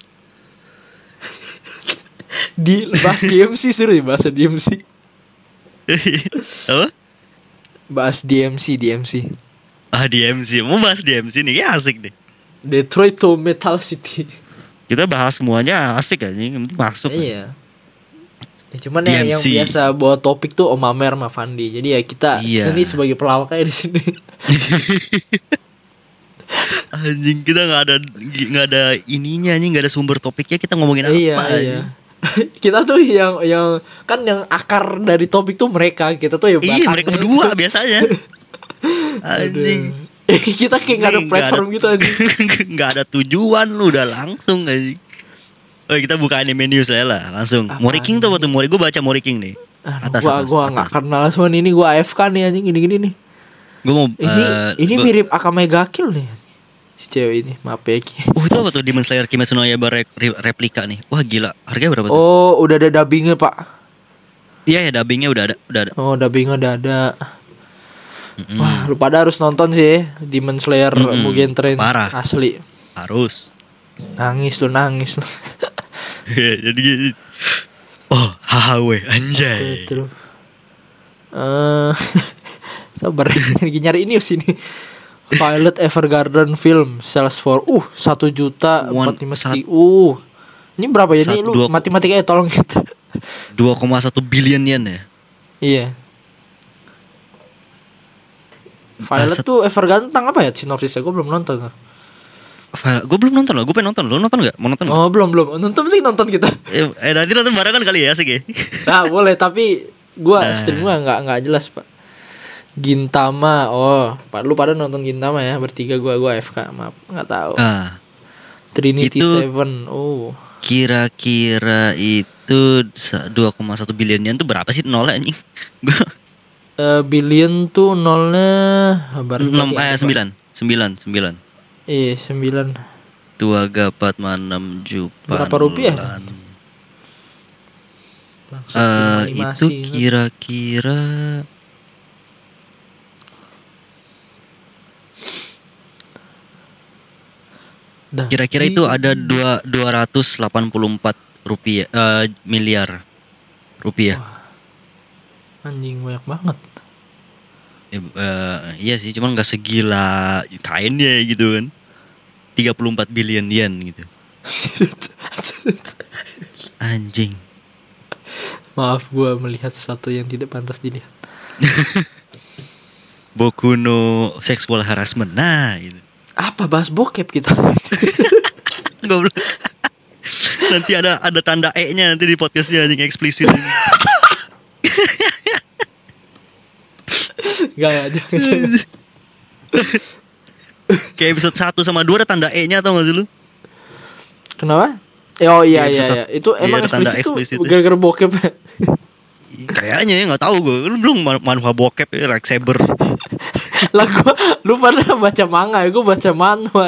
Speaker 2: di bahas DMC seru ya bahasa DMC
Speaker 1: apa
Speaker 2: bahas DMC DMC
Speaker 1: ah DMC mau bahas DMC nih ya asik deh
Speaker 2: Detroit to Metal City
Speaker 1: kita bahas semuanya asik anjing yang penting masuk
Speaker 2: iya ya, cuman ya yang
Speaker 1: DMC.
Speaker 2: biasa bawa topik tuh Om Amer sama Fandi jadi ya kita
Speaker 1: Iya.
Speaker 2: ini sebagai pelawak aja di sini
Speaker 1: anjing kita nggak ada nggak ada ininya anjing nggak ada sumber topiknya kita ngomongin apa
Speaker 2: iya
Speaker 1: anjing.
Speaker 2: iya kita tuh yang yang kan yang akar dari topik tuh mereka kita tuh ya
Speaker 1: iya
Speaker 2: batangnya
Speaker 1: mereka berdua
Speaker 2: itu.
Speaker 1: biasanya anjing
Speaker 2: Aduh. kita kayak gak ada
Speaker 1: Nggak
Speaker 2: platform gitu anjing
Speaker 1: nggak ada tujuan lu udah langsung anjing Oh, kita buka anime news aja lah langsung.
Speaker 2: Apaan
Speaker 1: Mori King tuh waktu Mori gue baca Mori King nih.
Speaker 2: Aduh,
Speaker 1: atas
Speaker 2: gua
Speaker 1: atas.
Speaker 2: gua nggak kenal semua ini gua AFK nih anjing gini gini nih
Speaker 1: Gue mau
Speaker 2: Ini
Speaker 1: eh,
Speaker 2: ini
Speaker 1: gua-
Speaker 2: mirip Akame ga Kill nih. Si cewek ini, maaf ya. Ki.
Speaker 1: Oh, itu apa tuh Demon Slayer Kimetsu no Yaiba re- re- replika nih. Wah, gila. Harganya berapa tuh?
Speaker 2: Oh, udah ada dubbingnya, Pak.
Speaker 1: Iya, ya dubbingnya udah ada, udah ada.
Speaker 2: Oh, dubbingnya udah ada. Wah, lu pada harus nonton sih ya. Demon Slayer
Speaker 1: Mm-mm,
Speaker 2: Mugen Train
Speaker 1: parah.
Speaker 2: asli.
Speaker 1: Harus.
Speaker 2: Nangis lu, nangis lu.
Speaker 1: Iya, Jadi gini. Oh, hahawe anjay.
Speaker 2: Gitu. Eh, sabar lagi nyari ini sini. Violet Evergarden film sales for uh 1 juta
Speaker 1: One-
Speaker 2: 45 seti- uh ini berapa ya ini
Speaker 1: Satu,
Speaker 2: lu
Speaker 1: dua-
Speaker 2: matematikanya tolong gitu
Speaker 1: 2,1 billion yen ya.
Speaker 2: Iya. Violet
Speaker 1: Baset.
Speaker 2: tuh Evergarden tentang apa ya sinopsisnya? Gue belum nonton.
Speaker 1: Gue belum nonton loh, gue pengen nonton. Lo nonton gak? Mau nonton nggak?
Speaker 2: Oh belum belum. Nonton penting nonton kita.
Speaker 1: Eh, eh, nanti nonton barengan kali ya, asik ya.
Speaker 2: Nah boleh tapi gue
Speaker 1: Nah.
Speaker 2: stream gue nggak nggak jelas pak. Gintama, oh, pak lu pada nonton Gintama ya bertiga gue gue FK maaf nggak tahu.
Speaker 1: Ah, itu-
Speaker 2: Trinity Seven, oh,
Speaker 1: kira-kira itu sa- 2,1 billion yen tuh berapa sih nolnya anjing? Gue
Speaker 2: eh, billion tuh nolnya habar ya?
Speaker 1: enam eh sembilan sembilan sembilan
Speaker 2: Iya, sembilan.
Speaker 1: tua gapat manam jupan
Speaker 2: Berapa rupiah?
Speaker 1: lan.
Speaker 2: Langsung
Speaker 1: Eh,
Speaker 2: animasi,
Speaker 1: itu kira-kira
Speaker 2: Dah.
Speaker 1: kira-kira itu ada dua dua ratus delapan puluh empat rupiah eh, miliar rupiah
Speaker 2: Anjing banyak banget.
Speaker 1: Eh, eh, iya sih cuman nggak segila kain ya gitu kan 34 billion yen gitu anjing
Speaker 2: Maaf gua melihat sesuatu yang tidak pantas dilihat.
Speaker 1: Boku no sexual harassment nah gitu
Speaker 2: Apa bahas bokep kita?
Speaker 1: Goblok. nanti ada ada tanda e nya nanti di podcastnya anjing eksplisit
Speaker 2: Gak ya, jangan. jangan.
Speaker 1: kayak episode 1 sama 2 ada tanda e nya tau gak sih lu
Speaker 2: Kenapa? Eh, oh iya
Speaker 1: Iya,
Speaker 2: iya, iya.
Speaker 1: episode-
Speaker 2: Itu
Speaker 1: iya,
Speaker 2: emang
Speaker 1: ada tanda
Speaker 2: eksplisit
Speaker 1: eksplisit
Speaker 2: tuh
Speaker 1: ya.
Speaker 2: gara-gara bokep.
Speaker 1: kayaknya ya nggak tahu gue lu belum man- manhwa bokep ya lightsaber
Speaker 2: lah gua lu pernah baca manga ya? Gua baca manhwa.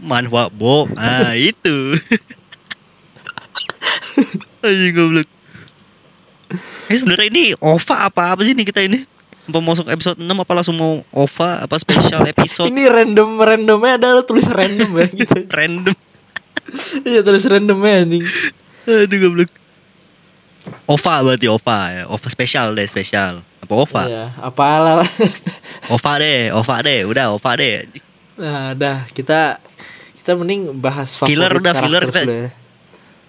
Speaker 1: manhwa bo ah itu anjing goblok eh sebenarnya ini OVA apa apa sih nih kita ini apa masuk episode 6 apa langsung mau OVA apa special episode
Speaker 2: Ini random randomnya ada lu tulis random ya gitu.
Speaker 1: random
Speaker 2: Iya tulis randomnya anjing.
Speaker 1: aduh goblok OVA berarti OVA ya. OVA spesial deh spesial apa OVA
Speaker 2: Iya, apalah.
Speaker 1: OVA deh OVA deh udah OVA deh
Speaker 2: nah, dah kita kita mending bahas favorit
Speaker 1: Filler udah,
Speaker 2: karakter
Speaker 1: filler kita-
Speaker 2: dulu ya.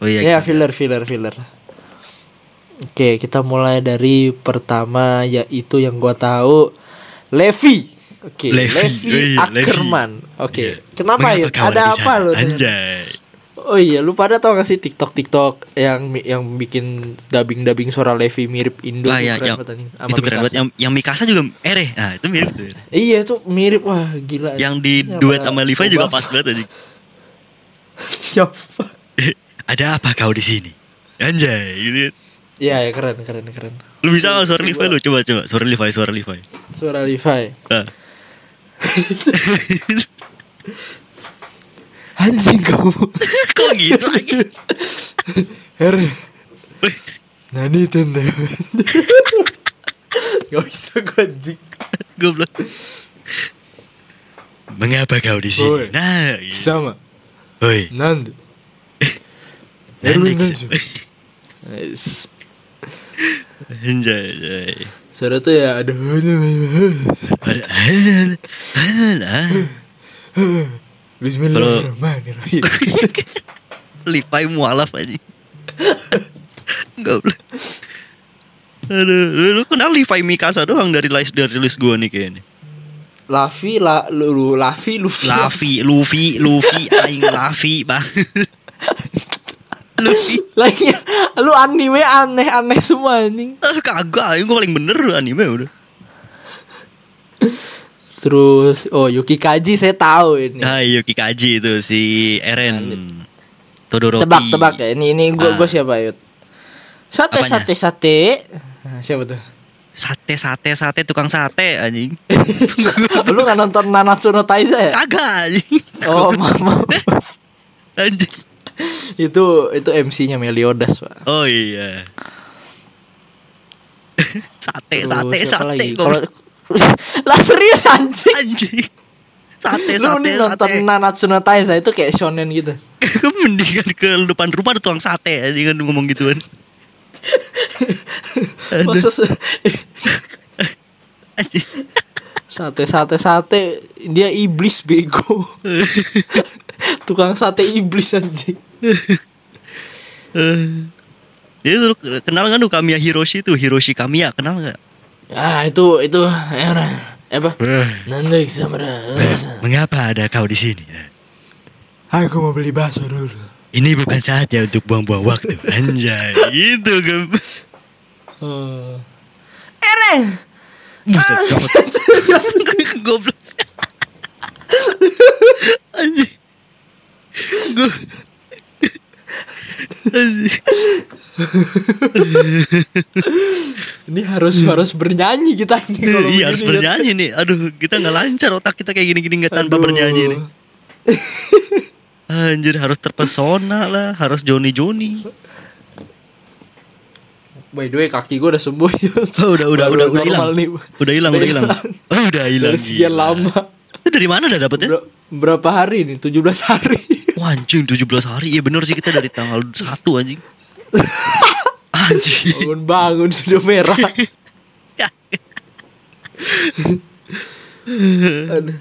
Speaker 1: oh iya
Speaker 2: Ya,
Speaker 1: gitu.
Speaker 2: filler filler filler. Oke, kita mulai dari pertama yaitu yang gua tahu Levi. Oke,
Speaker 1: Levi,
Speaker 2: Levi
Speaker 1: iya, Levi.
Speaker 2: Ackerman. Oke.
Speaker 1: Iya.
Speaker 2: Kenapa ya?
Speaker 1: Mengapa kawan
Speaker 2: Ada
Speaker 1: di
Speaker 2: apa
Speaker 1: sana?
Speaker 2: lo?
Speaker 1: Anjay
Speaker 2: Oh iya, lu pada tau gak sih TikTok TikTok yang mi- yang bikin dubbing dubbing suara Levi mirip Indo
Speaker 1: Lah
Speaker 2: tuh
Speaker 1: ya,
Speaker 2: keren
Speaker 1: yang,
Speaker 2: banget anjing. Sama
Speaker 1: itu keren
Speaker 2: Mikasa.
Speaker 1: banget. iya. Yang, yang Mikasa juga ere. Nah, itu mirip tuh.
Speaker 2: Iya tuh mirip wah gila.
Speaker 1: Yang di
Speaker 2: Ini
Speaker 1: duet
Speaker 2: apa-
Speaker 1: sama Levi juga
Speaker 2: Obama.
Speaker 1: pas banget anjing.
Speaker 2: Siapa?
Speaker 1: Ada apa kau di sini? Anjay, gitu. kan.
Speaker 2: Iya ya, keren keren keren.
Speaker 1: Lu bisa nggak suara Levi lu coba coba suara Levi suara Levi.
Speaker 2: Suara Levi.
Speaker 1: Nah.
Speaker 2: Anjing kamu.
Speaker 1: Kok gitu aja?
Speaker 2: Here. Nani tende. Gak bisa gue anjing.
Speaker 1: Goblok. Mengapa kau di
Speaker 2: Oi.
Speaker 1: sini? Nah, gitu.
Speaker 2: Sama.
Speaker 1: Oi.
Speaker 2: Nando.
Speaker 1: Nanti
Speaker 2: Erwin
Speaker 1: kes-
Speaker 2: Nanjo. Nice.
Speaker 1: Anjay. anjay.
Speaker 2: Suara tuh ya ada. Bismillahirrahmanirrahim.
Speaker 1: Levi mualaf aja. Goblok. Aduh, lu, lu kenal Levi Mikasa doang dari list dari list gua nih kayaknya.
Speaker 2: Lavi la lu, lu Lavi Luffy.
Speaker 1: Lavi, Luffy, Luffy, aing Lavi, bah. Luffy.
Speaker 2: Lagi iya. lu anime aneh-aneh semua anjing.
Speaker 1: Ah, kagak, aing gua paling bener anime udah.
Speaker 2: Terus oh Yuki Kaji saya tahu ini.
Speaker 1: Nah, Yuki Kaji itu si Eren. Todoroki.
Speaker 2: Tebak tebak ya ini ini gua
Speaker 1: Ah.
Speaker 2: gua siapa yut. Sate
Speaker 1: Apanya?
Speaker 2: sate sate. Nah, siapa tuh?
Speaker 1: Sate sate sate tukang sate anjing.
Speaker 2: lu nggak nonton Nanatsu no Taizai
Speaker 1: Kan
Speaker 2: ya?
Speaker 1: Kagak anjing.
Speaker 2: Oh maaf, maaf.
Speaker 1: Anjing.
Speaker 2: itu itu MC-nya Meliodas pak.
Speaker 1: Oh iya. sate, Eh,
Speaker 2: Terus
Speaker 1: sate, sate.
Speaker 2: siapa lagi? Kalau
Speaker 1: goblok.
Speaker 2: lah serius anjing.
Speaker 1: Anjing. Sate,
Speaker 2: Lu
Speaker 1: sate,
Speaker 2: mending
Speaker 1: sate.
Speaker 2: nonton Nanatsu no Taizai itu kayak shonen gitu.
Speaker 1: Mendingan ke depan rumah ada tukang sate anjing kan ngomong gituan. Aduh.
Speaker 2: Masa se-
Speaker 1: Anjing.
Speaker 2: sate sate sate dia iblis bego. Tukang sate iblis anjing.
Speaker 1: Eh. Jadi lu kenal kan lu Kamiya Hiroshi tuh Hiroshi Kamiya kenal nggak?
Speaker 2: Ah itu itu eh nah, apa?
Speaker 1: Hmm.
Speaker 2: Nanti sama
Speaker 1: Mengapa ada kau di sini?
Speaker 2: Aku mau beli bakso dulu.
Speaker 1: Ini bukan saatnya untuk buang-buang waktu Anjay Gitu gem
Speaker 2: Eh. Eren.
Speaker 1: Buset dapat. Goblok Anjing Gue
Speaker 2: Ini harus harus bernyanyi kita ini kalau
Speaker 1: iya harus
Speaker 2: begini, ya.
Speaker 1: bernyanyi nih. Aduh, kita nggak lancar otak kita kayak gini-gini nggak tanpa
Speaker 2: Aduh.
Speaker 1: bernyanyi nih. Anjir harus terpesona lah, harus Joni Joni.
Speaker 2: By the way kaki gue udah sembuh.
Speaker 1: Oh, udah udah
Speaker 2: Baru
Speaker 1: udah udah hilang.
Speaker 2: normal nih.
Speaker 1: Udah hilang, udah
Speaker 2: Udah
Speaker 1: hilang. Oh, udah hilang.
Speaker 2: Dari sekian
Speaker 1: gila.
Speaker 2: lama.
Speaker 1: Itu dari mana udah dapetnya?
Speaker 2: Ber- berapa hari nih? 17 hari.
Speaker 1: Wah, anjing 17 hari. Iya bener sih kita dari tanggal 1 anjing. Anjing.
Speaker 2: Bangun-bangun sudah merah. Aduh.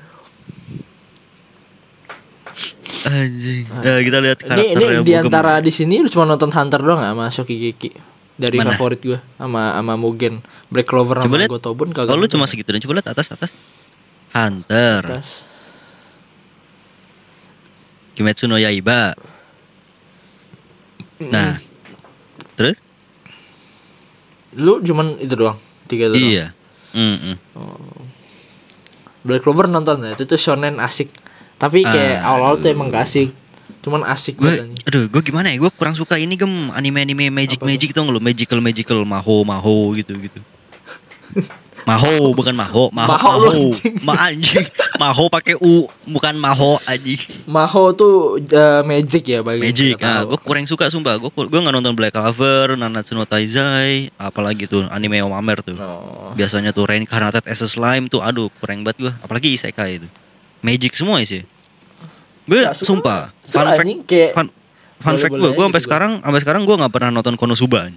Speaker 1: Anjing. Nah, kita lihat
Speaker 2: Ah. Ini ini
Speaker 1: karakternya
Speaker 2: di antara di sini lu cuma nonton Hunter doang gak sama Shoki Kiki dari
Speaker 1: Mana?
Speaker 2: favorit gue sama sama Mugen Black Clover
Speaker 1: Coba
Speaker 2: sama
Speaker 1: lihat.
Speaker 2: Gotobun kagak.
Speaker 1: Kalau lu
Speaker 2: nonton. ya?
Speaker 1: cuma segitu dan coba lihat atas atas. Hunter,
Speaker 2: Terus,
Speaker 1: Kimetsu no Yaiba. Nah. Terus?
Speaker 2: lu cuman itu doang tiga itu doang.
Speaker 1: Iya. Mm-mm.
Speaker 2: Black Clover nonton ya itu tuh shonen asik tapi kayak awal-awal tuh emang gak asik cuman asik
Speaker 1: Gue,
Speaker 2: banget anjing.
Speaker 1: aduh, gue gimana ya? Gue kurang suka ini gem anime-anime magic magic tau nggak lo? Magical magical maho maho gitu gitu. Maho bukan maho, maho
Speaker 2: Maho lu,
Speaker 1: maho,
Speaker 2: anjing.
Speaker 1: ma anjing, maho pakai u bukan maho anjing.
Speaker 2: Maho tuh eh, magic ya bagi yang
Speaker 1: Magic,
Speaker 2: tidak
Speaker 1: ah,
Speaker 2: tahu.
Speaker 1: gue kurang suka sumpah. Gue gue nggak nonton Black Clover, Nanatsu no Taizai, apalagi tuh anime Omamer tuh.
Speaker 2: Oh.
Speaker 1: Biasanya tuh Reincarnated as a Slime tuh, aduh kurang banget gue. Apalagi Isekai itu, magic semua sih. Gue
Speaker 2: Nggak suka.
Speaker 1: sumpah,
Speaker 2: So,
Speaker 1: fun fact,
Speaker 2: anjing kayak
Speaker 1: fun, fun fact gue,
Speaker 2: Boleh-boleh
Speaker 1: gue
Speaker 2: aja
Speaker 1: sampai
Speaker 2: gitu.
Speaker 1: sekarang, sampai sekarang gue nggak pernah nonton Konosuba.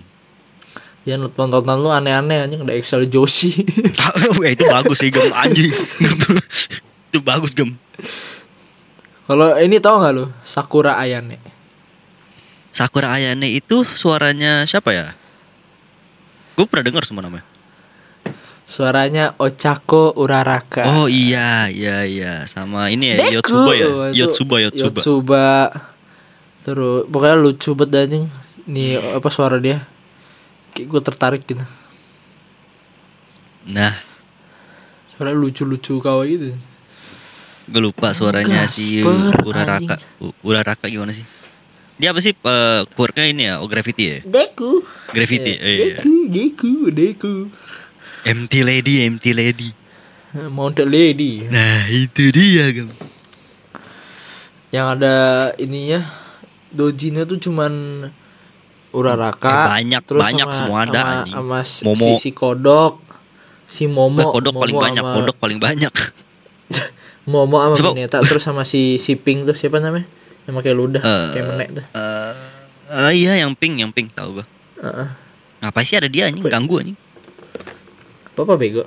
Speaker 2: ya nonton-nonton lu aneh-aneh anjing ada Excel Joshi
Speaker 1: Wah, eh, itu bagus sih gem anjing, itu bagus gem.
Speaker 2: kalau ini tau gak lu Sakura ya. Ayane
Speaker 1: Sakura Ayane itu suaranya siapa ya? Gue pernah dengar semua namanya.
Speaker 2: suaranya Ochako Uraraka
Speaker 1: Oh iya, iya, iya, sama ini ya
Speaker 2: Deku.
Speaker 1: Yotsuba ya,
Speaker 2: Tuh, itu
Speaker 1: Yotsuba, Yotsuba.
Speaker 2: Yotsuba. Terus pokoknya lucu banget dah, anjing. Nih apa suara dia? Kayak gue tertarik gitu.
Speaker 1: Nah,
Speaker 2: Suara lucu-lucu kawa gitu.
Speaker 1: gue lupa suaranya si
Speaker 2: Gasper,
Speaker 1: Uraraka. U- Uraraka gimana sih? Dia apa sih eh, quirk-nya ini ya? Oh, gravity ya?
Speaker 2: Deku.
Speaker 1: Gravity. eh, iya.
Speaker 2: Deku, Deku, Deku.
Speaker 1: MT Lady, MT Lady.
Speaker 2: Mountain Lady.
Speaker 1: Nah, itu dia, Gem.
Speaker 2: Yang ada ininya dojinya tuh cuman Uraraka.
Speaker 1: Eh, banyak, banyak, semua ada,
Speaker 2: sama-
Speaker 1: anjing.
Speaker 2: Sama, si-
Speaker 1: Momo.
Speaker 2: si, si Kodok. Si Momo.
Speaker 1: Wah, kodok paling
Speaker 2: Momo
Speaker 1: banyak,
Speaker 2: sama-
Speaker 1: kodok paling banyak.
Speaker 2: Momo sama
Speaker 1: Coba-
Speaker 2: Mineta terus sama si si Pink tuh siapa namanya? Yang pakai ludah
Speaker 1: Eh,
Speaker 2: Nah, kayak menek tuh.
Speaker 1: Eh, eh, iya yang pink, yang pink tahu gua.
Speaker 2: Heeh.
Speaker 1: Ngapain sih ada dia anjing ganggu anjing.
Speaker 2: Apa bego?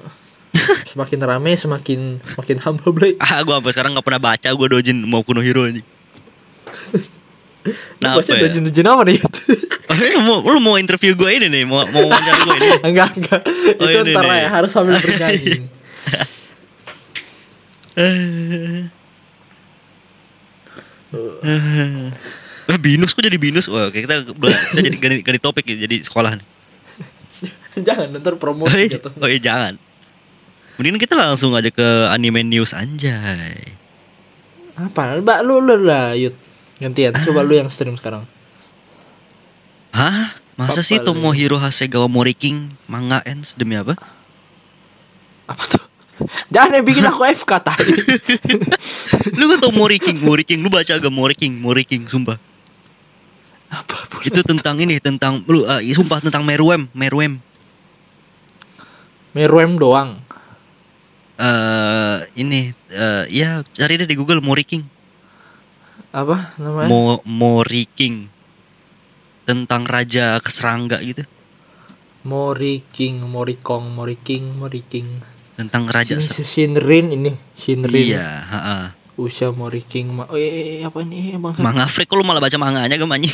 Speaker 2: semakin rame semakin semakin humble Blay.
Speaker 1: Ah, gua sampai sekarang nggak pernah baca gua dojin mau kuno hero anjing. Kenapa
Speaker 2: Nah, baca
Speaker 1: ya?
Speaker 2: dojin dojin apa nih?
Speaker 1: Oh, lu mau lu mau interview gue ini nih, mau mau wawancara gue ini.
Speaker 2: enggak enggak.
Speaker 1: Oh,
Speaker 2: Itu
Speaker 1: ini
Speaker 2: ntar
Speaker 1: nih.
Speaker 2: ya harus sambil bernyanyi.
Speaker 1: Eh, binus kok jadi binus? Wah, oke, kita kita jadi ganti, ganti topik ya, jadi sekolah. nih.
Speaker 2: Jangan ntar
Speaker 1: Oh,
Speaker 2: promosi
Speaker 1: iya,
Speaker 2: gitu.
Speaker 1: oh, iya, jangan. Mendingan kita langsung aja ke anime news anjay.
Speaker 2: Apa? Mbak lu lu lah yut. Gantian coba lu yang stream sekarang.
Speaker 1: Hah? Masa
Speaker 2: Apa
Speaker 1: sih
Speaker 2: lu?
Speaker 1: Tomohiro Hasegawa Moriking manga ends demi apa?
Speaker 2: Apa tuh? Jangan yang bikin aku FK tadi.
Speaker 1: lu kan tau Moriking, Moriking, lu baca agak Moriking, Moriking, sumpah.
Speaker 2: apa bu?
Speaker 1: Itu tentang ini, tentang lu eh, sumpah tentang Meruem, Meruem.
Speaker 2: Meruem doang.
Speaker 1: eh ini eh ya cari deh di Google Moriking.
Speaker 2: Apa namanya?
Speaker 1: Mo Moriking. Tentang raja keserangga gitu.
Speaker 2: Mori King, Mori Kong, Mori King, Mori King.
Speaker 1: Tentang raja
Speaker 2: Shin,
Speaker 1: ser-
Speaker 2: Shinrin ini, Shinrin.
Speaker 1: Iya, heeh.
Speaker 2: Usha Mori King. Ma- oh, eh, eh, apa ini Bang?
Speaker 1: Manga freak kok lu malah baca manganya gemanya.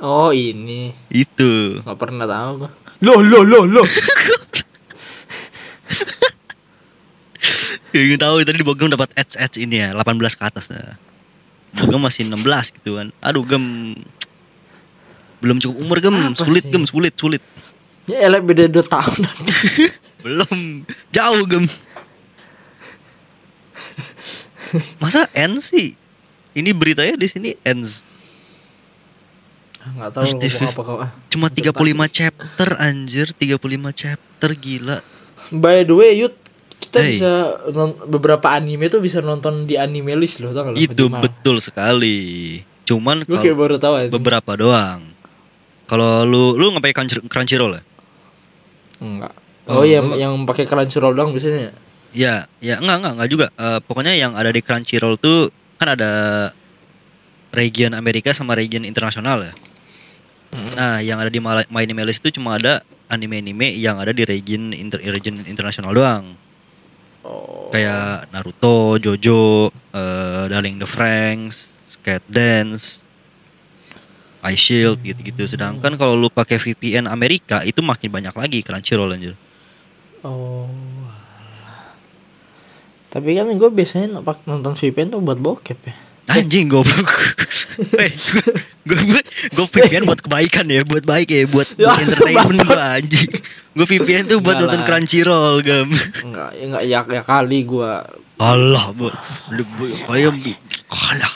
Speaker 2: oh, ini.
Speaker 1: Itu.
Speaker 2: nggak pernah tahu gua. Loh, loh, loh, loh.
Speaker 1: Ya, ingin tahu tadi di Bogem dapat ads ads ini ya 18 ke atas. Nah. Bogem masih 16 gitu kan. Aduh gem belum cukup umur gem
Speaker 2: Apa
Speaker 1: sulit
Speaker 2: sih?
Speaker 1: gem sulit sulit
Speaker 2: ya elek beda 2 tahun nanti.
Speaker 1: belum jauh gem masa ends sih ini beritanya di sini ends
Speaker 2: nggak tahu lu ngomong apa kau ah.
Speaker 1: Cuma 35 chapter anjir, 35 chapter gila.
Speaker 2: By the way, Yud, kita
Speaker 1: Hey.
Speaker 2: bisa non- beberapa anime tuh bisa nonton di anime list loh, tau nggak? lo,
Speaker 1: Itu
Speaker 2: Malah.
Speaker 1: betul sekali. Cuman
Speaker 2: Gue
Speaker 1: kalau
Speaker 2: kayak baru tahu aja.
Speaker 1: beberapa doang. Kalau lu lu nggak pakai Crunch- Crunchyroll ya?
Speaker 2: Enggak. Oh,
Speaker 1: Oh,
Speaker 2: iya,
Speaker 1: gua-
Speaker 2: yang pakai Crunchyroll doang biasanya.
Speaker 1: Ya, ya enggak enggak enggak juga. Eh, pokoknya yang ada di Crunchyroll tuh kan ada region Amerika sama region internasional ya. Nah, yang ada di Mala- My Anime List itu cuma ada anime-anime yang ada di region inter- region internasional doang.
Speaker 2: Oh.
Speaker 1: kayak Naruto, Jojo, eh, Darling in the Franks, Skate Dance, Ice Shield gitu-gitu. Sedangkan kalau lu pakai VPN Amerika itu makin banyak lagi Crunchyroll anjir.
Speaker 2: Oh. alah. Tapi kan gue biasanya nampak- nonton VPN tuh buat bokep ya.
Speaker 1: Anjing goblok. Eh, Weh, gue gue gue VPN buat kebaikan ya, buat baik ya, buat, buat
Speaker 2: Ya,
Speaker 1: entertainment gue anjing. Gue VPN tuh buat
Speaker 2: Enggak
Speaker 1: nonton
Speaker 2: lah.
Speaker 1: Crunchyroll gam.
Speaker 2: Enggak, ya, enggak ya, ya kali gue
Speaker 1: Allah, bu, lu, bu, kalian bi- Allah.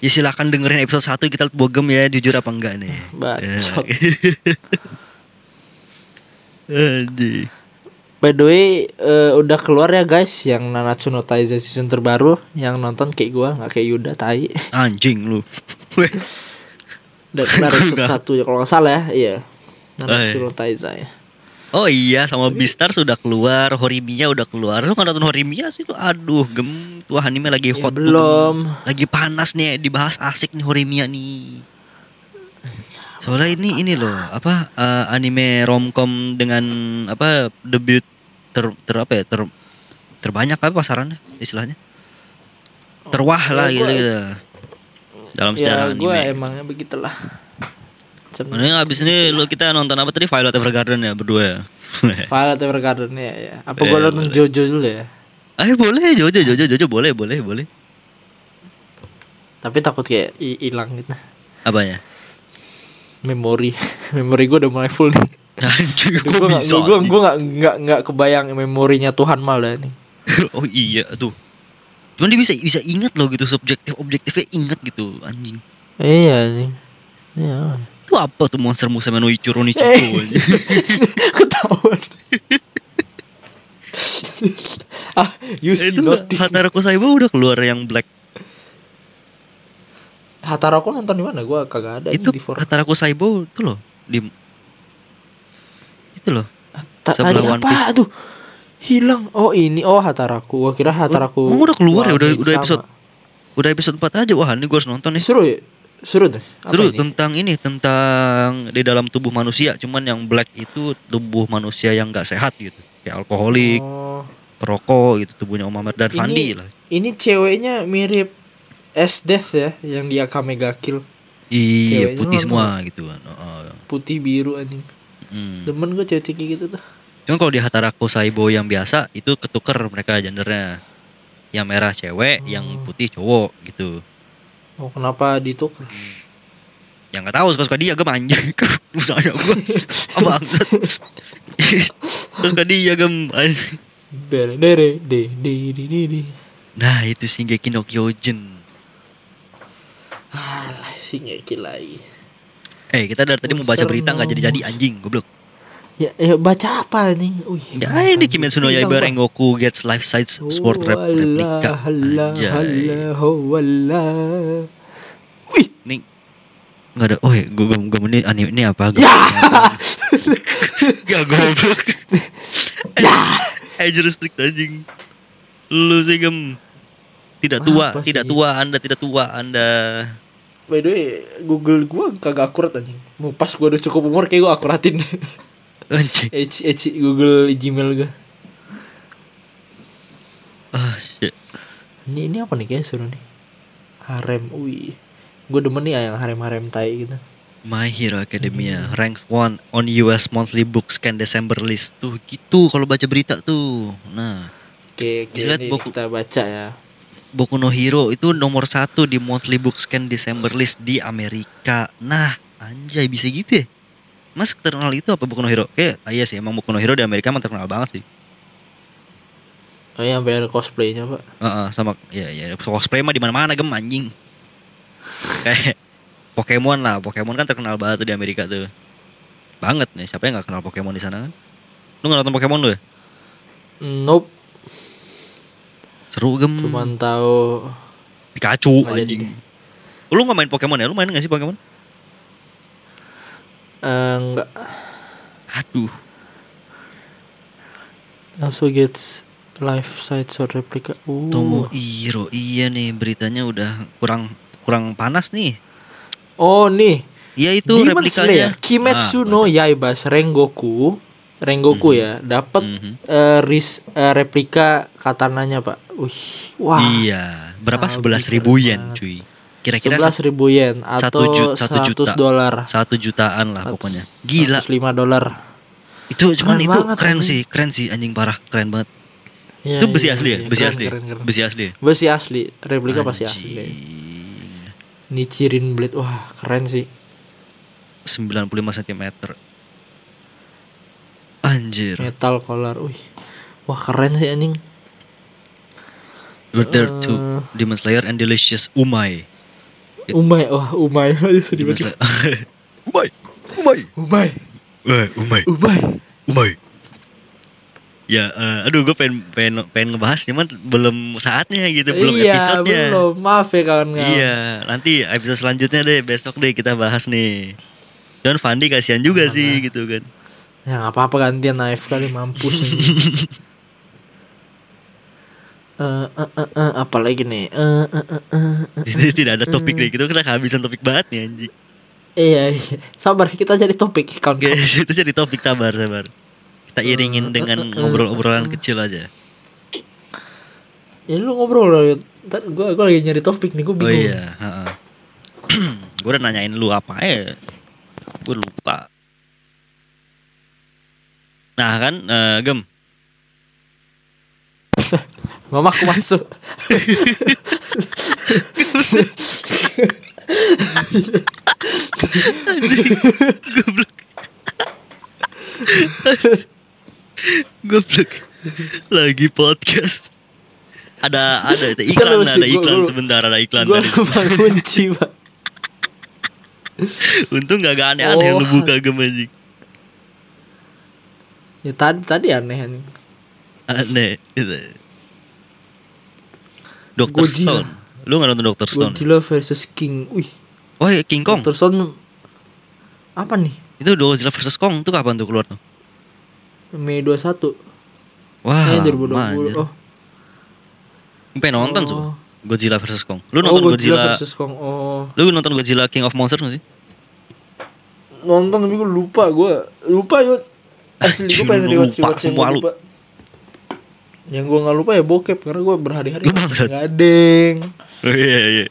Speaker 1: Ya silakan dengerin episode 1 kita lihat bogem ya jujur apa enggak nih.
Speaker 2: bacot.
Speaker 1: Eh. Anjing.
Speaker 2: By the way, eh, udah keluar ya guys yang Nanatsu no Taizai season terbaru yang nonton kayak gua nggak kayak Yuda tai.
Speaker 1: Anjing lu. Weh,
Speaker 2: Udah keluar episode
Speaker 1: Nggak.
Speaker 2: satu ya kalau nggak salah ya. Iya. ya. Nanatsu
Speaker 1: Eh.
Speaker 2: no Taizai.
Speaker 1: oh iya sama Bistar sudah keluar, Horimiya udah keluar. Lu kan nonton Horimiya sih lu. Aduh, gem tuh anime lagi
Speaker 2: Ya,
Speaker 1: hot. tuh,
Speaker 2: belum.
Speaker 1: Gem. Lagi panas nih dibahas asik nih Horimiya nih. Soalnya ini ini loh, apa eh, anime romcom dengan apa debut ter, ter apa ya? Ter, terbanyak apa pasarannya istilahnya? Terwah lah
Speaker 2: Ya,
Speaker 1: gitu,
Speaker 2: gua-
Speaker 1: gitu. Dalam sejarah
Speaker 2: Ya gua
Speaker 1: anime.
Speaker 2: emangnya begitulah. Sem-
Speaker 1: Mending abis ini lu kita nonton apa tadi Violet Evergarden ya berdua ya.
Speaker 2: Violet Evergarden ya, ya. Apa gua
Speaker 1: Ya,
Speaker 2: nonton Jojo dulu ya?
Speaker 1: Ayo Eh, boleh Jojo Jojo Jojo boleh boleh boleh.
Speaker 2: Tapi takut kayak hi- hilang gitu.
Speaker 1: Apanya?
Speaker 2: Memori. Memori gua udah mulai full nih.
Speaker 1: Anjir
Speaker 2: Gue
Speaker 1: kok bisa. gitu?
Speaker 2: gua gua nggak nggak nggak kebayang memorinya Tuhan malah nih.
Speaker 1: anjing? oh iya tuh. Cuman dia bisa bisa ingat loh gitu subjektif objektifnya ingat gitu anjing.
Speaker 2: Iya nih. Iya.
Speaker 1: Itu apa tuh monster Musa no Ichiro no Ichiro
Speaker 2: Eh.
Speaker 1: anjing?
Speaker 2: Ketahuan. ah, you see
Speaker 1: Itu
Speaker 2: nothing.
Speaker 1: Hataraku Saiba udah keluar yang black.
Speaker 2: Hataraku nonton di mana? Gua kagak ada
Speaker 1: Itu
Speaker 2: nih di forum.
Speaker 1: Hataraku Saiba itu loh di itu loh.
Speaker 2: Ta-
Speaker 1: sebelah
Speaker 2: Tadi
Speaker 1: One Piece.
Speaker 2: apa tuh? Hilang. Oh, ini. Oh, Hataraku. Gua kira Hataraku.
Speaker 1: Emang udah keluar ya
Speaker 2: Wah,
Speaker 1: udah
Speaker 2: ini
Speaker 1: udah
Speaker 2: sama.
Speaker 1: episode udah episode 4 aja wah ini gue harus nonton nih.
Speaker 2: Seru ya? Seru deh. Apa
Speaker 1: Seru
Speaker 2: ini?
Speaker 1: tentang ini tentang di dalam tubuh manusia, cuman yang black itu tubuh manusia yang nggak sehat gitu, kayak alkoholik,
Speaker 2: Oh,
Speaker 1: perokok gitu tubuhnya Om Ahmad dan Fandi
Speaker 2: ini,
Speaker 1: lah.
Speaker 2: ini ceweknya mirip S Death ya yang di Akamega Kill.
Speaker 1: Iya
Speaker 2: ceweknya
Speaker 1: putih
Speaker 2: nonton.
Speaker 1: semua gitu kan. Heeh.
Speaker 2: Putih biru anjing.
Speaker 1: Hmm.
Speaker 2: Demen gue cewek kayak gitu tuh.
Speaker 1: Cuman kalau di Hataraku Saibo yang biasa itu ketuker mereka gendernya. Yang merah cewek, yang putih cowok gitu.
Speaker 2: Oh, kenapa ditukar?
Speaker 1: Yang nggak tahu suka-suka dia gem anjing. Lu nanya gua. Bangsat. suka dia gem anjing.
Speaker 2: Dere dere de de de de de.
Speaker 1: Nah, itu Shingeki no Kyojin.
Speaker 2: Alah sih ngeki lagi.
Speaker 1: Eh kita dari tadi mau baca
Speaker 2: Monster
Speaker 1: berita nggak
Speaker 2: no
Speaker 1: jadi-jadi anjing goblok.
Speaker 2: Ya, ya baca apa nih? Wih.
Speaker 1: Ya ini Kimetsu no Yaiba
Speaker 2: Bang.
Speaker 1: Rengoku gets life size sword rep
Speaker 2: Oh,
Speaker 1: replika.
Speaker 2: Allah, Allah,
Speaker 1: Anjay.
Speaker 2: Allah, oh, Allah. Wih.
Speaker 1: Ini nggak ada. Oh ya, gue gue gue ini anime ini apa? Gak
Speaker 2: Ya.
Speaker 1: ya goblok. ya. Eh jurus trik anjing. Lu sih gem. Tidak tua,
Speaker 2: Apa
Speaker 1: tidak
Speaker 2: sih?
Speaker 1: tua, anda tidak tua, anda.
Speaker 2: By the way, Google gua kagak akurat anjing. Mau pas gua udah cukup umur kayak gua akuratin.
Speaker 1: Anjing.
Speaker 2: H H Google Gmail gua.
Speaker 1: Ah, shit.
Speaker 2: Ini ini apa nih kayak suruh nih? Harem. Wih. Gua demen nih yang harem-harem tai gitu.
Speaker 1: My Hero Academia rank 1 on US monthly book scan December list. Tuh gitu kalau baca berita tuh. Nah,
Speaker 2: Oke, oke,
Speaker 1: Bisa lihat
Speaker 2: ini
Speaker 1: buku.
Speaker 2: kita baca ya.
Speaker 1: Boku no Hero itu nomor satu di monthly book scan December list di Amerika. Nah, anjay bisa gitu ya? Mas terkenal itu apa Boku no Hero? Eh, ah, iya sih emang Boku no Hero di Amerika emang terkenal banget sih.
Speaker 2: Oh, yang bayar cosplaynya, Pak.
Speaker 1: Heeh, sama ya ya cosplay mah di mana-mana gem anjing. Kayak Pokemon lah Pokemon kan terkenal banget tuh di Amerika tuh banget nih siapa yang nggak kenal Pokemon di sana kan lu nggak nonton Pokemon lu ya Hmm.
Speaker 2: Nope,
Speaker 1: seru gem
Speaker 2: cuman tahu
Speaker 1: Pikachu
Speaker 2: nggak jadi.
Speaker 1: anjing lu nggak main Pokemon ya lu main nggak sih Pokemon
Speaker 2: eh, enggak
Speaker 1: aduh
Speaker 2: also gets life size or replica. Uh.
Speaker 1: Tomohiro iya nih beritanya udah kurang kurang panas nih
Speaker 2: Oh nih,
Speaker 1: Iya itu
Speaker 2: Demon
Speaker 1: replikanya Ah.
Speaker 2: Slayer Kimetsu no Yaiba Rengoku, Rengoku ya, dapat
Speaker 1: Mhm.
Speaker 2: eh, ris- eh, replika katananya pak. Wih, wah.
Speaker 1: Ah, iya berapa
Speaker 2: Sabi
Speaker 1: sebelas ribu
Speaker 2: keren
Speaker 1: yen
Speaker 2: banget.
Speaker 1: cuy kira-kira
Speaker 2: Sebelas ribu yen atau
Speaker 1: satu ju- satu
Speaker 2: 100
Speaker 1: juta.
Speaker 2: dolar,
Speaker 1: satu jutaan lah pokoknya gila
Speaker 2: 105 dolar.
Speaker 1: itu cuman
Speaker 2: Keren
Speaker 1: itu
Speaker 2: banget,
Speaker 1: keren
Speaker 2: anjing.
Speaker 1: sih keren sih anjing parah keren banget
Speaker 2: Iya,
Speaker 1: itu besi
Speaker 2: iya,
Speaker 1: asli ya
Speaker 2: iya,
Speaker 1: besi
Speaker 2: keren,
Speaker 1: asli
Speaker 2: keren, keren.
Speaker 1: besi asli ya?
Speaker 2: Besi asli, replika pasti asli.
Speaker 1: Anjing.
Speaker 2: Nichirin Blade, wah keren sih.
Speaker 1: 95 cm Anjir
Speaker 2: Metal collar, wih, wah keren sih anjing.
Speaker 1: We're there
Speaker 2: Eh.
Speaker 1: to Demon Slayer and Delicious Umay
Speaker 2: Umay, wah umay,
Speaker 1: Demon
Speaker 2: tiba-tiba.
Speaker 1: Slayer Umay Umay
Speaker 2: Umay,
Speaker 1: Eh, Umay
Speaker 2: umay.
Speaker 1: Umay Ya eh, aduh gue pengen, pengen, pengen ngebahas Cuman belum saatnya gitu Belum
Speaker 2: iya,
Speaker 1: episodenya
Speaker 2: belum. Maaf ya kawan-kawan.
Speaker 1: Iya nanti episode selanjutnya deh Besok deh kita bahas nih Cuman Fandi kasihan juga sih gitu kan
Speaker 2: Ya nggak apa-apa gantian AFK kali mampus. Eh eh eh, eh, apa lagi nih? Eh eh eh eh, eh.
Speaker 1: Tidak ada topik deh Kita kena kehabisan topik banget nih anjing
Speaker 2: Iya, iya. sabar kita jadi topik kawan.
Speaker 1: Oke, itu jadi topik sabar sabar. Kita
Speaker 2: Eh,
Speaker 1: iringin dengan ngobrol-obrolan kecil aja.
Speaker 2: Ya lu ngobrol loh. Ntar gua gua lagi nyari topik nih, gua
Speaker 1: Oh
Speaker 2: bingung.
Speaker 1: iya, Gue udah nanyain lu apa ya? Gue lupa. Nah kan, eh, Gem,
Speaker 2: Mama aku masuk.
Speaker 1: goblok. Lagi podcast. Ada ada itu
Speaker 2: Seru
Speaker 1: iklan,
Speaker 2: sih,
Speaker 1: ada
Speaker 2: gua-
Speaker 1: iklan
Speaker 2: gua-
Speaker 1: sebentar, ada iklan.
Speaker 2: gua
Speaker 1: tadi.
Speaker 2: lupa kunci, Pak.
Speaker 1: Untung gak, gak aneh-aneh
Speaker 2: Oh.
Speaker 1: lu buka Gem anjing.
Speaker 2: Ya tadi tadi aneh aneh.
Speaker 1: Aneh. Gitu. Dr.
Speaker 2: Godzilla.
Speaker 1: Stone. Lu gak nonton Dr. Stone?
Speaker 2: Godzilla versus King. Wih,
Speaker 1: Oh iya, King Kong.
Speaker 2: Dr. Stone apa nih?
Speaker 1: Itu Godzilla versus Kong tuh kapan tuh keluar tuh?
Speaker 2: Mei 21.
Speaker 1: Wah, Ah,
Speaker 2: Eh,
Speaker 1: lama,
Speaker 2: 2020.
Speaker 1: anjir.
Speaker 2: Oh.
Speaker 1: Pengen nonton
Speaker 2: Oh.
Speaker 1: tuh Godzilla versus Kong. Lu
Speaker 2: Oh,
Speaker 1: nonton Godzilla,
Speaker 2: versus Kong. Oh.
Speaker 1: Lu nonton Godzilla King of Monsters gak sih?
Speaker 2: Nonton tapi gue lupa, gue lupa yuk. Asli
Speaker 1: Anjing,
Speaker 2: gue pengen
Speaker 1: lu lupa,
Speaker 2: rewatch rewatch yang
Speaker 1: sumpah
Speaker 2: gue
Speaker 1: lu.
Speaker 2: lupa. Yang gue nggak lupa ya bokep karena gue berhari-hari
Speaker 1: Lu bangsat.
Speaker 2: ngadeng.
Speaker 1: Oh, iya iya.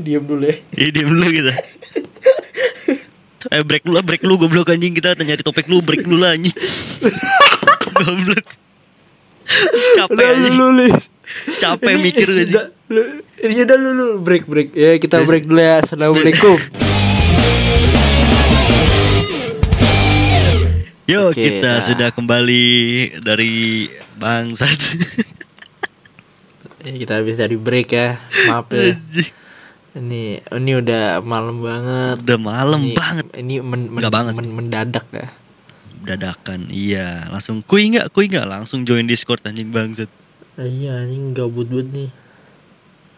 Speaker 2: Diam dulu ya.
Speaker 1: Iya diem dulu kita. eh break dulu lah, break dulu goblok anjing kita nyari topik lu, break dulu lah anjing. goblok. Capek
Speaker 2: Udah lu
Speaker 1: anjing.
Speaker 2: lu Li.
Speaker 1: Capek
Speaker 2: Ini-
Speaker 1: mikir
Speaker 2: ini
Speaker 1: anjing.
Speaker 2: udah, lu, ini udah lu lu break break ya kita break dulu ya. Assalamualaikum.
Speaker 1: Yo,
Speaker 2: Oke,
Speaker 1: kita
Speaker 2: nah.
Speaker 1: sudah kembali dari bangsat.
Speaker 2: ya, kita habis dari break ya. Maaf ya.
Speaker 1: Anjing.
Speaker 2: Ini ini udah malam banget.
Speaker 1: Udah malam
Speaker 2: Ini-
Speaker 1: banget.
Speaker 2: Ini men- men-
Speaker 1: Nggak banget
Speaker 2: men- mendadak ya.
Speaker 1: dadakan iya langsung kui nggak kui nggak langsung join discord anjing bangset
Speaker 2: Iya, anjing gabut banget nih.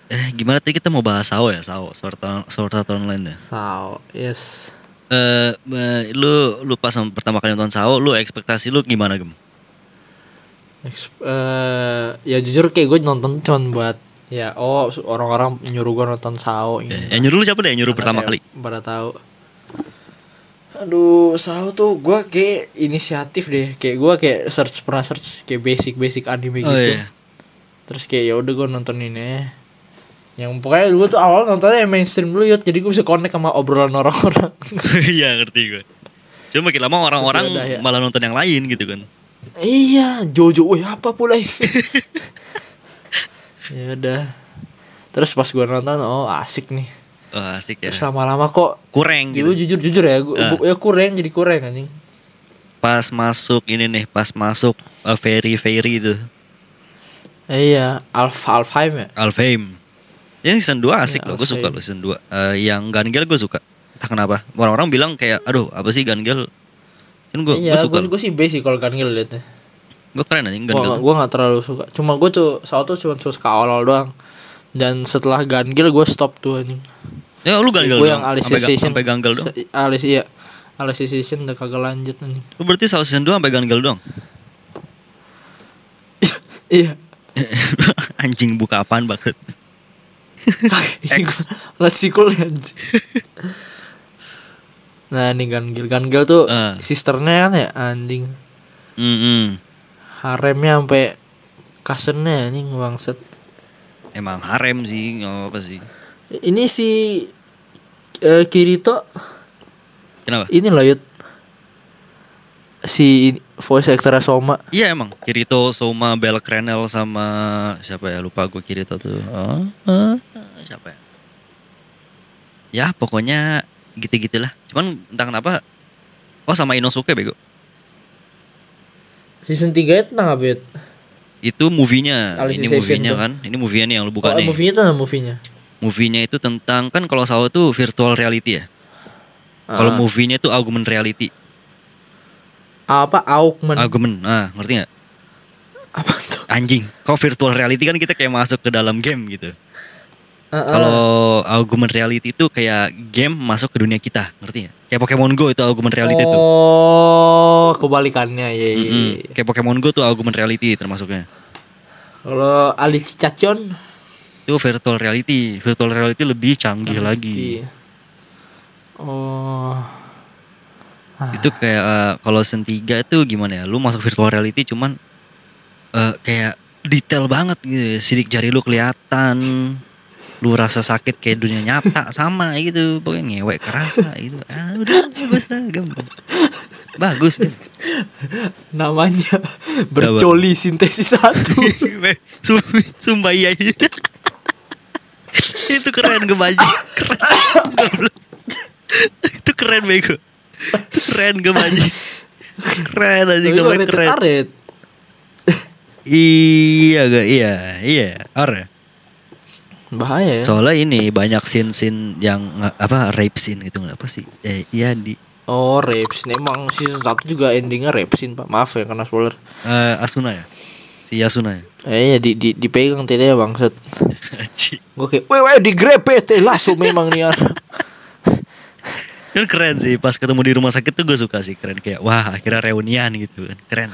Speaker 1: eh gimana tadi kita mau bahas sao ya sao sorta sorta online ya
Speaker 2: Sao, yes.
Speaker 1: eh eh, lu lupa sama pertama kali nonton sao lu ekspektasi lu gimana gem
Speaker 2: Eks- eh, ya jujur kayak gue nonton cuman buat ya oh su- orang-orang nyuruh gue nonton Sao gitu.
Speaker 1: eh, yang nyuruh lu siapa deh yang nyuruh pertama kali
Speaker 2: Pada tahu. Aduh, Sao tuh gue kayak inisiatif deh. Kayak gue kayak search pernah search kayak basic-basic anime
Speaker 1: oh
Speaker 2: gitu.
Speaker 1: iya
Speaker 2: Terus kayak ya udah gue nonton ini. Yang pokoknya gue tuh awal nontonnya yang mainstream dulu ya, jadi gue bisa connect sama obrolan orang-orang.
Speaker 1: iya ngerti gue cuma makin lama orang-orang
Speaker 2: Terus yaudah, ya.
Speaker 1: malah nonton yang lain gitu kan
Speaker 2: Iya, Jojo, wih apa pula itu? ya udah. Terus pas gua nonton, oh asik nih.
Speaker 1: Wah, asik ya
Speaker 2: Terus lama-lama kok,
Speaker 1: kurang
Speaker 2: gue
Speaker 1: gitu
Speaker 2: jujur jujur ya, gua,
Speaker 1: Ah.
Speaker 2: gua- ya kurang jadi kurang anjing.
Speaker 1: pas masuk ini nih pas masuk eh, ferry ferry itu
Speaker 2: Iya, Alf Alfheim ya.
Speaker 1: Alfheim. Yang season 2 asik
Speaker 2: Iya,
Speaker 1: loh, gue suka
Speaker 2: Alfheim.
Speaker 1: loh season 2. Eh, yang Gun Gale gue suka. Entah kenapa. Orang-orang bilang kayak aduh, apa sih Gun Gale? Kan gue
Speaker 2: iya,
Speaker 1: suka.
Speaker 2: gue gue sih base sih kalau kan Gale liatnya.
Speaker 1: Gue keren anjing Gun
Speaker 2: Gue
Speaker 1: Gale.
Speaker 2: gue nggak terlalu suka. Cuma gue tuh soal tuh cuma suka awal-awal doang. Dan setelah Gangil gue stop tuh anjing.
Speaker 1: Ya lu Gun Gale.
Speaker 2: Gue yang
Speaker 1: doang.
Speaker 2: Alice
Speaker 1: Sampai Gun-
Speaker 2: Station.
Speaker 1: sampai Gun Gale doang.
Speaker 2: Se- Alice iya. Alice Station udah kagak lanjut anjing.
Speaker 1: Lu berarti soal season 2 sampai Gun Gale doang.
Speaker 2: iya.
Speaker 1: anjing buka apaan banget. X.
Speaker 2: Let's sequel anjing. Nah ini Gangil Gangil tuh
Speaker 1: Ah.
Speaker 2: sisternya kan ya anjing.
Speaker 1: Mm-mm.
Speaker 2: Haremnya sampai kasennya anjing bangset.
Speaker 1: Emang harem sih, nggak apa sih.
Speaker 2: Ini si eh, Kirito
Speaker 1: Kenapa?
Speaker 2: ini loh Yud. si voice actor Soma.
Speaker 1: Iya emang Kirito, Soma, Bel Krenel sama siapa ya lupa gue Kirito tuh. Oh, eh, siapa ya? Ya pokoknya gitu-gitulah. Cuman entah kenapa Oh sama Inosuke bego.
Speaker 2: Season 3 itu tentang apa Yud?
Speaker 1: Itu movie-nya.
Speaker 2: Alice
Speaker 1: Ini
Speaker 2: Station
Speaker 1: movie-nya
Speaker 2: tuh.
Speaker 1: kan. Ini movie-nya nih yang lu buka
Speaker 2: Oh,
Speaker 1: nih. Movie.
Speaker 2: movie-nya itu ada movie-nya.
Speaker 1: nya itu tentang kan kalau Sawa tuh virtual reality ya. Kalau
Speaker 2: Ah.
Speaker 1: movie-nya itu augmented reality.
Speaker 2: apa Augment
Speaker 1: Augment. Ah, ngerti nggak?
Speaker 2: apa tuh?
Speaker 1: Anjing. Kalau virtual reality kan kita kayak masuk ke dalam game gitu.
Speaker 2: Ah, ah.
Speaker 1: Kalau augmented reality itu kayak game masuk ke dunia kita, ngerti gak? Kayak Pokemon Go itu augmented reality tuh.
Speaker 2: Oh, kebalikannya ya. ya,
Speaker 1: Mm-mm.
Speaker 2: ya.
Speaker 1: Kayak Pokemon Go tuh augmented reality termasuknya.
Speaker 2: Kalau Ali Cicacon
Speaker 1: Itu virtual reality. Virtual reality lebih canggih Iya lagi.
Speaker 2: di- Iya. Oh.
Speaker 1: Itu kayak eh, kalau Sen 3 itu gimana ya? Lu masuk virtual reality cuman eh, kayak detail banget gitu. Sidik jari lu kelihatan. Lu rasa sakit kayak dunia nyata sama gitu. Pokoknya ngewek kerasa gitu. Ah, udah bagus lah gampang. Bagus.
Speaker 2: Namanya bercoli sintesis satu.
Speaker 1: Sumpah, sumpah iya iya. itu keren gue bajing keren Goblok. itu keren bego keren gue bajing keren aja
Speaker 2: Tapi
Speaker 1: gue
Speaker 2: lu rated
Speaker 1: keren
Speaker 2: R, Red.
Speaker 1: iya gak iya iya are
Speaker 2: Bahaya ya.
Speaker 1: soalnya ini banyak scene scene yang nge- apa rape scene gitu nggak apa sih eh iya di
Speaker 2: Oh, rape scene. Emang season 1 juga endingnya rape scene, Pak. Maaf ya karena spoiler.
Speaker 1: eh, Asuna ya si Asuna ya
Speaker 2: Eh, ya, di, di, dipegang tete bangset.
Speaker 1: Anjing.
Speaker 2: Gue kayak, weh, weh, digrepet. eh, Langsung memang nih. anak."
Speaker 1: kan keren sih pas ketemu di rumah sakit tuh gue suka sih keren kayak wah akhirnya reunian gitu kan keren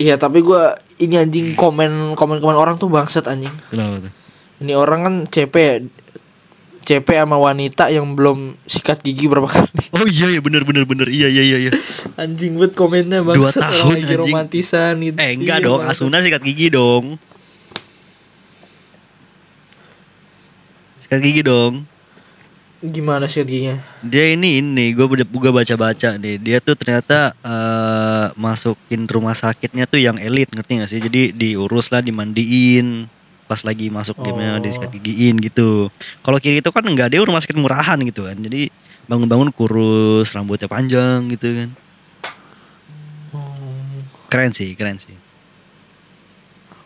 Speaker 2: Iya, tapi gua ini anjing komen komen-komen orang tuh bangset anjing.
Speaker 1: kenapa tuh
Speaker 2: Ini orang kan CP ya. CP sama wanita yang belum sikat gigi berapa kali.
Speaker 1: Oh iya ya bener bener bener iya iya iya. iya.
Speaker 2: Anjing buat komennya
Speaker 1: Dua
Speaker 2: bangsat orang
Speaker 1: tahun,
Speaker 2: lagi
Speaker 1: anjing.
Speaker 2: romantisan gitu.
Speaker 1: Eh enggak
Speaker 2: Iya,
Speaker 1: dong
Speaker 2: bangsat.
Speaker 1: Asuna sikat gigi dong. Sikat gigi dong.
Speaker 2: Gimana sikat giginya?
Speaker 1: Dia ini ini gue juga baca baca nih dia tuh ternyata eh, masukin rumah sakitnya tuh yang elit ngerti gak sih? Jadi diurus lah dimandiin pas lagi masuk
Speaker 2: Oh.
Speaker 1: gamenya dia sikat gigiin gitu. Kalau kiri itu kan enggak dia rumah sakit murahan gitu kan. Jadi bangun-bangun kurus rambutnya panjang gitu kan. Keren sih, keren sih.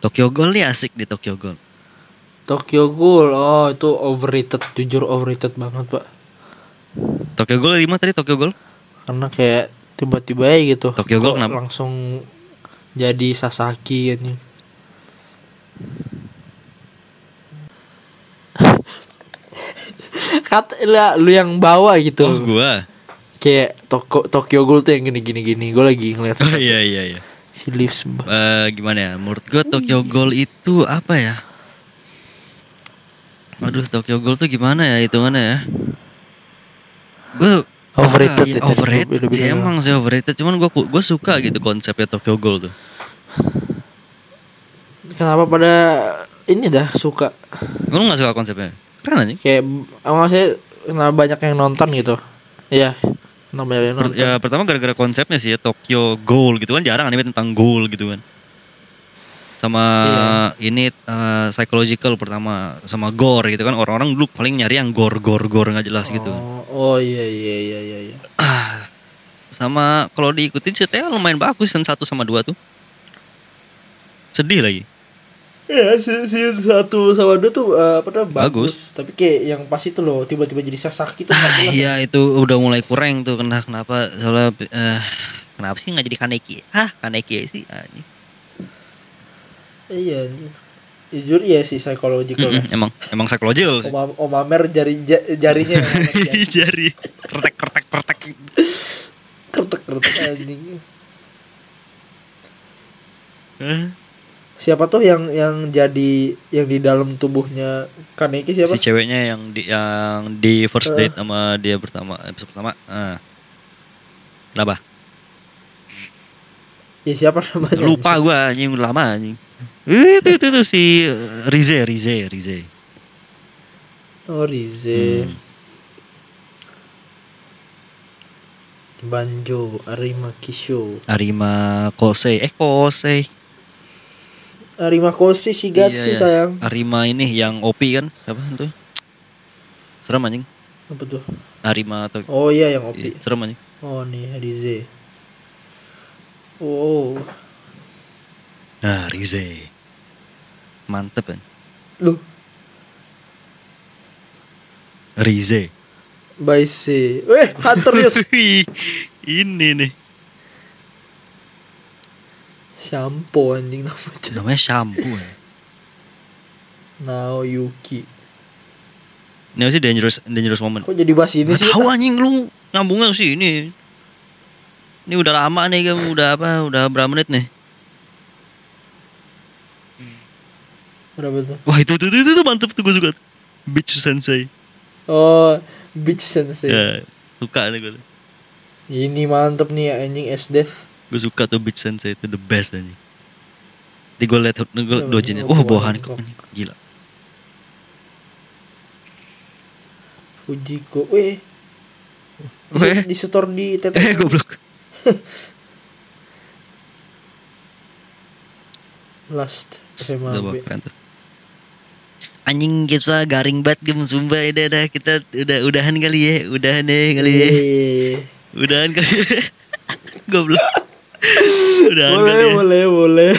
Speaker 1: Tokyo Ghoul nih asik di Tokyo Ghoul.
Speaker 2: Tokyo Ghoul. Oh, itu overrated, jujur overrated banget, Pak.
Speaker 1: Tokyo Ghoul di mana tadi Tokyo Ghoul?
Speaker 2: Karena kayak tiba-tiba aja gitu.
Speaker 1: Tokyo Ghoul
Speaker 2: Kok
Speaker 1: kenapa?
Speaker 2: Langsung jadi Sasaki anjing. Kata lah, lu yang bawa gitu.
Speaker 1: Oh, gua.
Speaker 2: kayak toko Tokyo Ghoul tuh yang gini gini gini gue lagi ngeliat
Speaker 1: Oh iya iya iya.
Speaker 2: si Leaves b-
Speaker 1: Eh, gimana ya? Menurut gua Tokyo Ghoul itu apa ya? Aduh, Tokyo Ghoul tuh gimana ya hitungannya ya? Gue
Speaker 2: Overrated ya, tadi
Speaker 1: overrated
Speaker 2: gua
Speaker 1: sih,
Speaker 2: bilang.
Speaker 1: emang sih overrated. Cuman gua gua suka gitu konsepnya Tokyo Ghoul tuh.
Speaker 2: kenapa pada ini dah suka
Speaker 1: Lu gak suka konsepnya? Keren aja.
Speaker 2: kayak sama saya kenapa banyak yang nonton gitu ya kenapa banyak yang
Speaker 1: Per-
Speaker 2: nonton
Speaker 1: ya pertama gara-gara konsepnya sih ya Tokyo Ghoul gitu kan jarang anime tentang goal gitu kan sama
Speaker 2: Iya.
Speaker 1: ini eh, psychological pertama sama gore gitu kan orang-orang dulu paling nyari yang gore gore gore nggak jelas gitu kan
Speaker 2: oh, oh iya iya iya iya iya.
Speaker 1: sama kalau kan, diikutin ceritanya lumayan bagus season 1 sama 2 tuh sedih lagi
Speaker 2: Ya, season satu sama dua tuh eh, apa namanya
Speaker 1: Bagus.
Speaker 2: bagus. Tapi kayak yang pas itu loh, tiba-tiba jadi sesak gitu. nggak
Speaker 1: Ah,
Speaker 2: jelas.
Speaker 1: iya itu udah mulai kurang tuh kenapa kenapa soalnya eh, kenapa sih nggak jadi Kaneki? Hah, Kaneki sih anjing.
Speaker 2: Iya, anjing. jujur iya sih psychological.
Speaker 1: Mm-mm, emang emang psychological sih.
Speaker 2: Om, Om Amer jari ja- jarinya yang enak, ya.
Speaker 1: Jari kertek kertek kertek.
Speaker 2: kertek kertek anjing.
Speaker 1: Hah?
Speaker 2: Iya, Siapa tuh yang yang jadi yang di dalam tubuhnya Kaneki siapa?
Speaker 1: Si ceweknya yang di yang di first
Speaker 2: Eh.
Speaker 1: date sama dia pertama episode pertama. ah. Kenapa?
Speaker 2: ya siapa namanya?
Speaker 1: Lupa gua anjing udah lama anjing. Eh, Itu itu tuh si Rize Rize Rize.
Speaker 2: Oh Rize.
Speaker 1: Hmm.
Speaker 2: Banjo Arima Kisho.
Speaker 1: Arima Kosei eh Kosei.
Speaker 2: Arima Koshi
Speaker 1: Iya,
Speaker 2: Shigatsu
Speaker 1: iya.
Speaker 2: sayang.
Speaker 1: Arima ini yang OP kan? Siapa tuh? Serem anjing.
Speaker 2: Apa tuh?
Speaker 1: Arima atau
Speaker 2: Oh iya yang OP.
Speaker 1: Iya, serem anjing.
Speaker 2: Oh nih Rize. Oh, Wow.
Speaker 1: Nah, Rize. Mantep kan?
Speaker 2: Loh,
Speaker 1: Rize.
Speaker 2: Baise. Weh, Hunter Youth.
Speaker 1: Wih, ini nih.
Speaker 2: Shampoo anjing namanya.
Speaker 1: Namanya shampoo ya.
Speaker 2: Nao Yuki.
Speaker 1: Ini apa sih dangerous dangerous moment.
Speaker 2: Kok jadi bahas ini
Speaker 1: Nggak
Speaker 2: sih?
Speaker 1: tahu anjing lu nyambungnya sih ini. Ini udah lama nih kamu udah apa udah berapa menit nih?
Speaker 2: Berapa tuh?
Speaker 1: Wah itu itu itu, itu mantep tuh gue suka. Bitch sensei.
Speaker 2: Oh, Beach Sensei.
Speaker 1: Ya, suka nih gue. tuh.
Speaker 2: Ini mantep nih ya anjing S Dev.
Speaker 1: Gue suka tuh Beach Sensei itu the best anjing. Nanti gue liat gue
Speaker 2: Iya,
Speaker 1: dojinnya.
Speaker 2: bener.
Speaker 1: Wah,
Speaker 2: Wah,
Speaker 1: bawa Hancock
Speaker 2: Hancock.
Speaker 1: anjing. Gila.
Speaker 2: Fujiko. Weh.
Speaker 1: Weh.
Speaker 2: Di setor di TT.
Speaker 1: Eh, goblok.
Speaker 2: Last
Speaker 1: Udah bawa
Speaker 2: FMAB.
Speaker 1: keren tuh. Anjing kita garing banget game Sumba ya udah kita udah udahan kali ya, udahan deh kali
Speaker 2: Iya,
Speaker 1: ya.
Speaker 2: Yeay.
Speaker 1: Udahan kali. ya. Goblok. Udahan kali.
Speaker 2: Boleh,
Speaker 1: ya.
Speaker 2: boleh, boleh.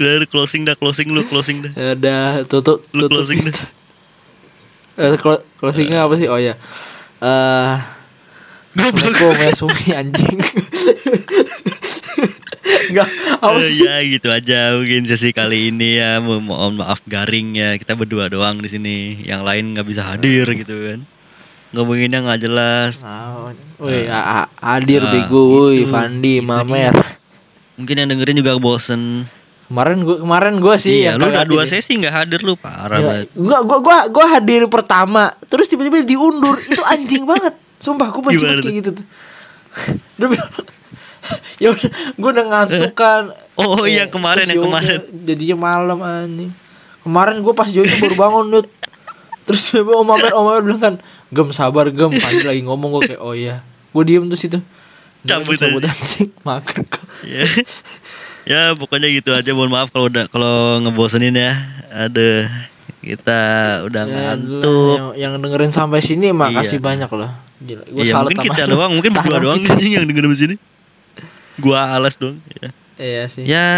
Speaker 1: Udah udah, closing dah, closing lu closing dah.
Speaker 2: Ada tutup
Speaker 1: Lu
Speaker 2: tutup.
Speaker 1: closing dah.
Speaker 2: Eh, clo- closingnya apa sih? Oh ya. Eh,
Speaker 1: Goblok.
Speaker 2: Assalamualaikum ya Sumi anjing. Enggak, apa
Speaker 1: Eh,
Speaker 2: sih?
Speaker 1: ya gitu aja mungkin sesi kali ini ya Mo- mohon maaf garing ya kita berdua doang di sini yang lain nggak bisa hadir gitu kan ngomonginnya nggak jelas Eh,
Speaker 2: Woi, a- a- hadir
Speaker 1: Ah,
Speaker 2: bego woi,
Speaker 1: gitu.
Speaker 2: Fandi, Mamer.
Speaker 1: mungkin yang dengerin juga bosen
Speaker 2: Kemarin gua kemarin gua sih Iya.
Speaker 1: iya
Speaker 2: yang
Speaker 1: lu
Speaker 2: kagak
Speaker 1: udah dua
Speaker 2: hadir.
Speaker 1: sesi nggak hadir lu parah
Speaker 2: Gila,
Speaker 1: banget
Speaker 2: Ya, Gua gua gua gua hadir pertama, terus tiba-tiba diundur. Itu anjing banget. Sumpah gua benci
Speaker 1: Gimana
Speaker 2: banget kayak gitu tuh. Demi Ya udah, gua udah ngantuk kan.
Speaker 1: Oh,
Speaker 2: Eh,
Speaker 1: iya, kemarin,
Speaker 2: terus
Speaker 1: yang
Speaker 2: yaudah,
Speaker 1: kemarin.
Speaker 2: Jadinya malam anjing. Kemarin gua pas Jojo baru bangun Nut. Terus tiba Om Amer, Om Amer bilang kan, "Gem sabar, gem." Pandi lagi ngomong gua kayak, "Oh iya." Gua diem tuh situ. Dia
Speaker 1: Cabut
Speaker 2: cabut anjing, makan.
Speaker 1: ya. ya pokoknya gitu aja mohon maaf kalau udah kalau ngebosenin ya ada kita udah ngantuk
Speaker 2: Yang, yang dengerin sampai sini makasih
Speaker 1: Iya.
Speaker 2: banyak loh. Gila, gua
Speaker 1: Iya
Speaker 2: salut
Speaker 1: mungkin
Speaker 2: sama
Speaker 1: kita
Speaker 2: lu.
Speaker 1: doang mungkin berdua
Speaker 2: Tanam
Speaker 1: doang
Speaker 2: kita.
Speaker 1: anjing yang dengerin di sini gua alas doang ya,
Speaker 2: Iya sih.
Speaker 1: ya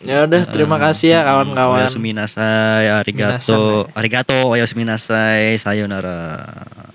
Speaker 2: Ya udah, terima
Speaker 1: Ah,
Speaker 2: kasih
Speaker 1: iya,
Speaker 2: ya kawan-kawan.
Speaker 1: Oyasumi nasai, arigato,
Speaker 2: Minasai.
Speaker 1: arigato, oyasumi nasai, sayonara.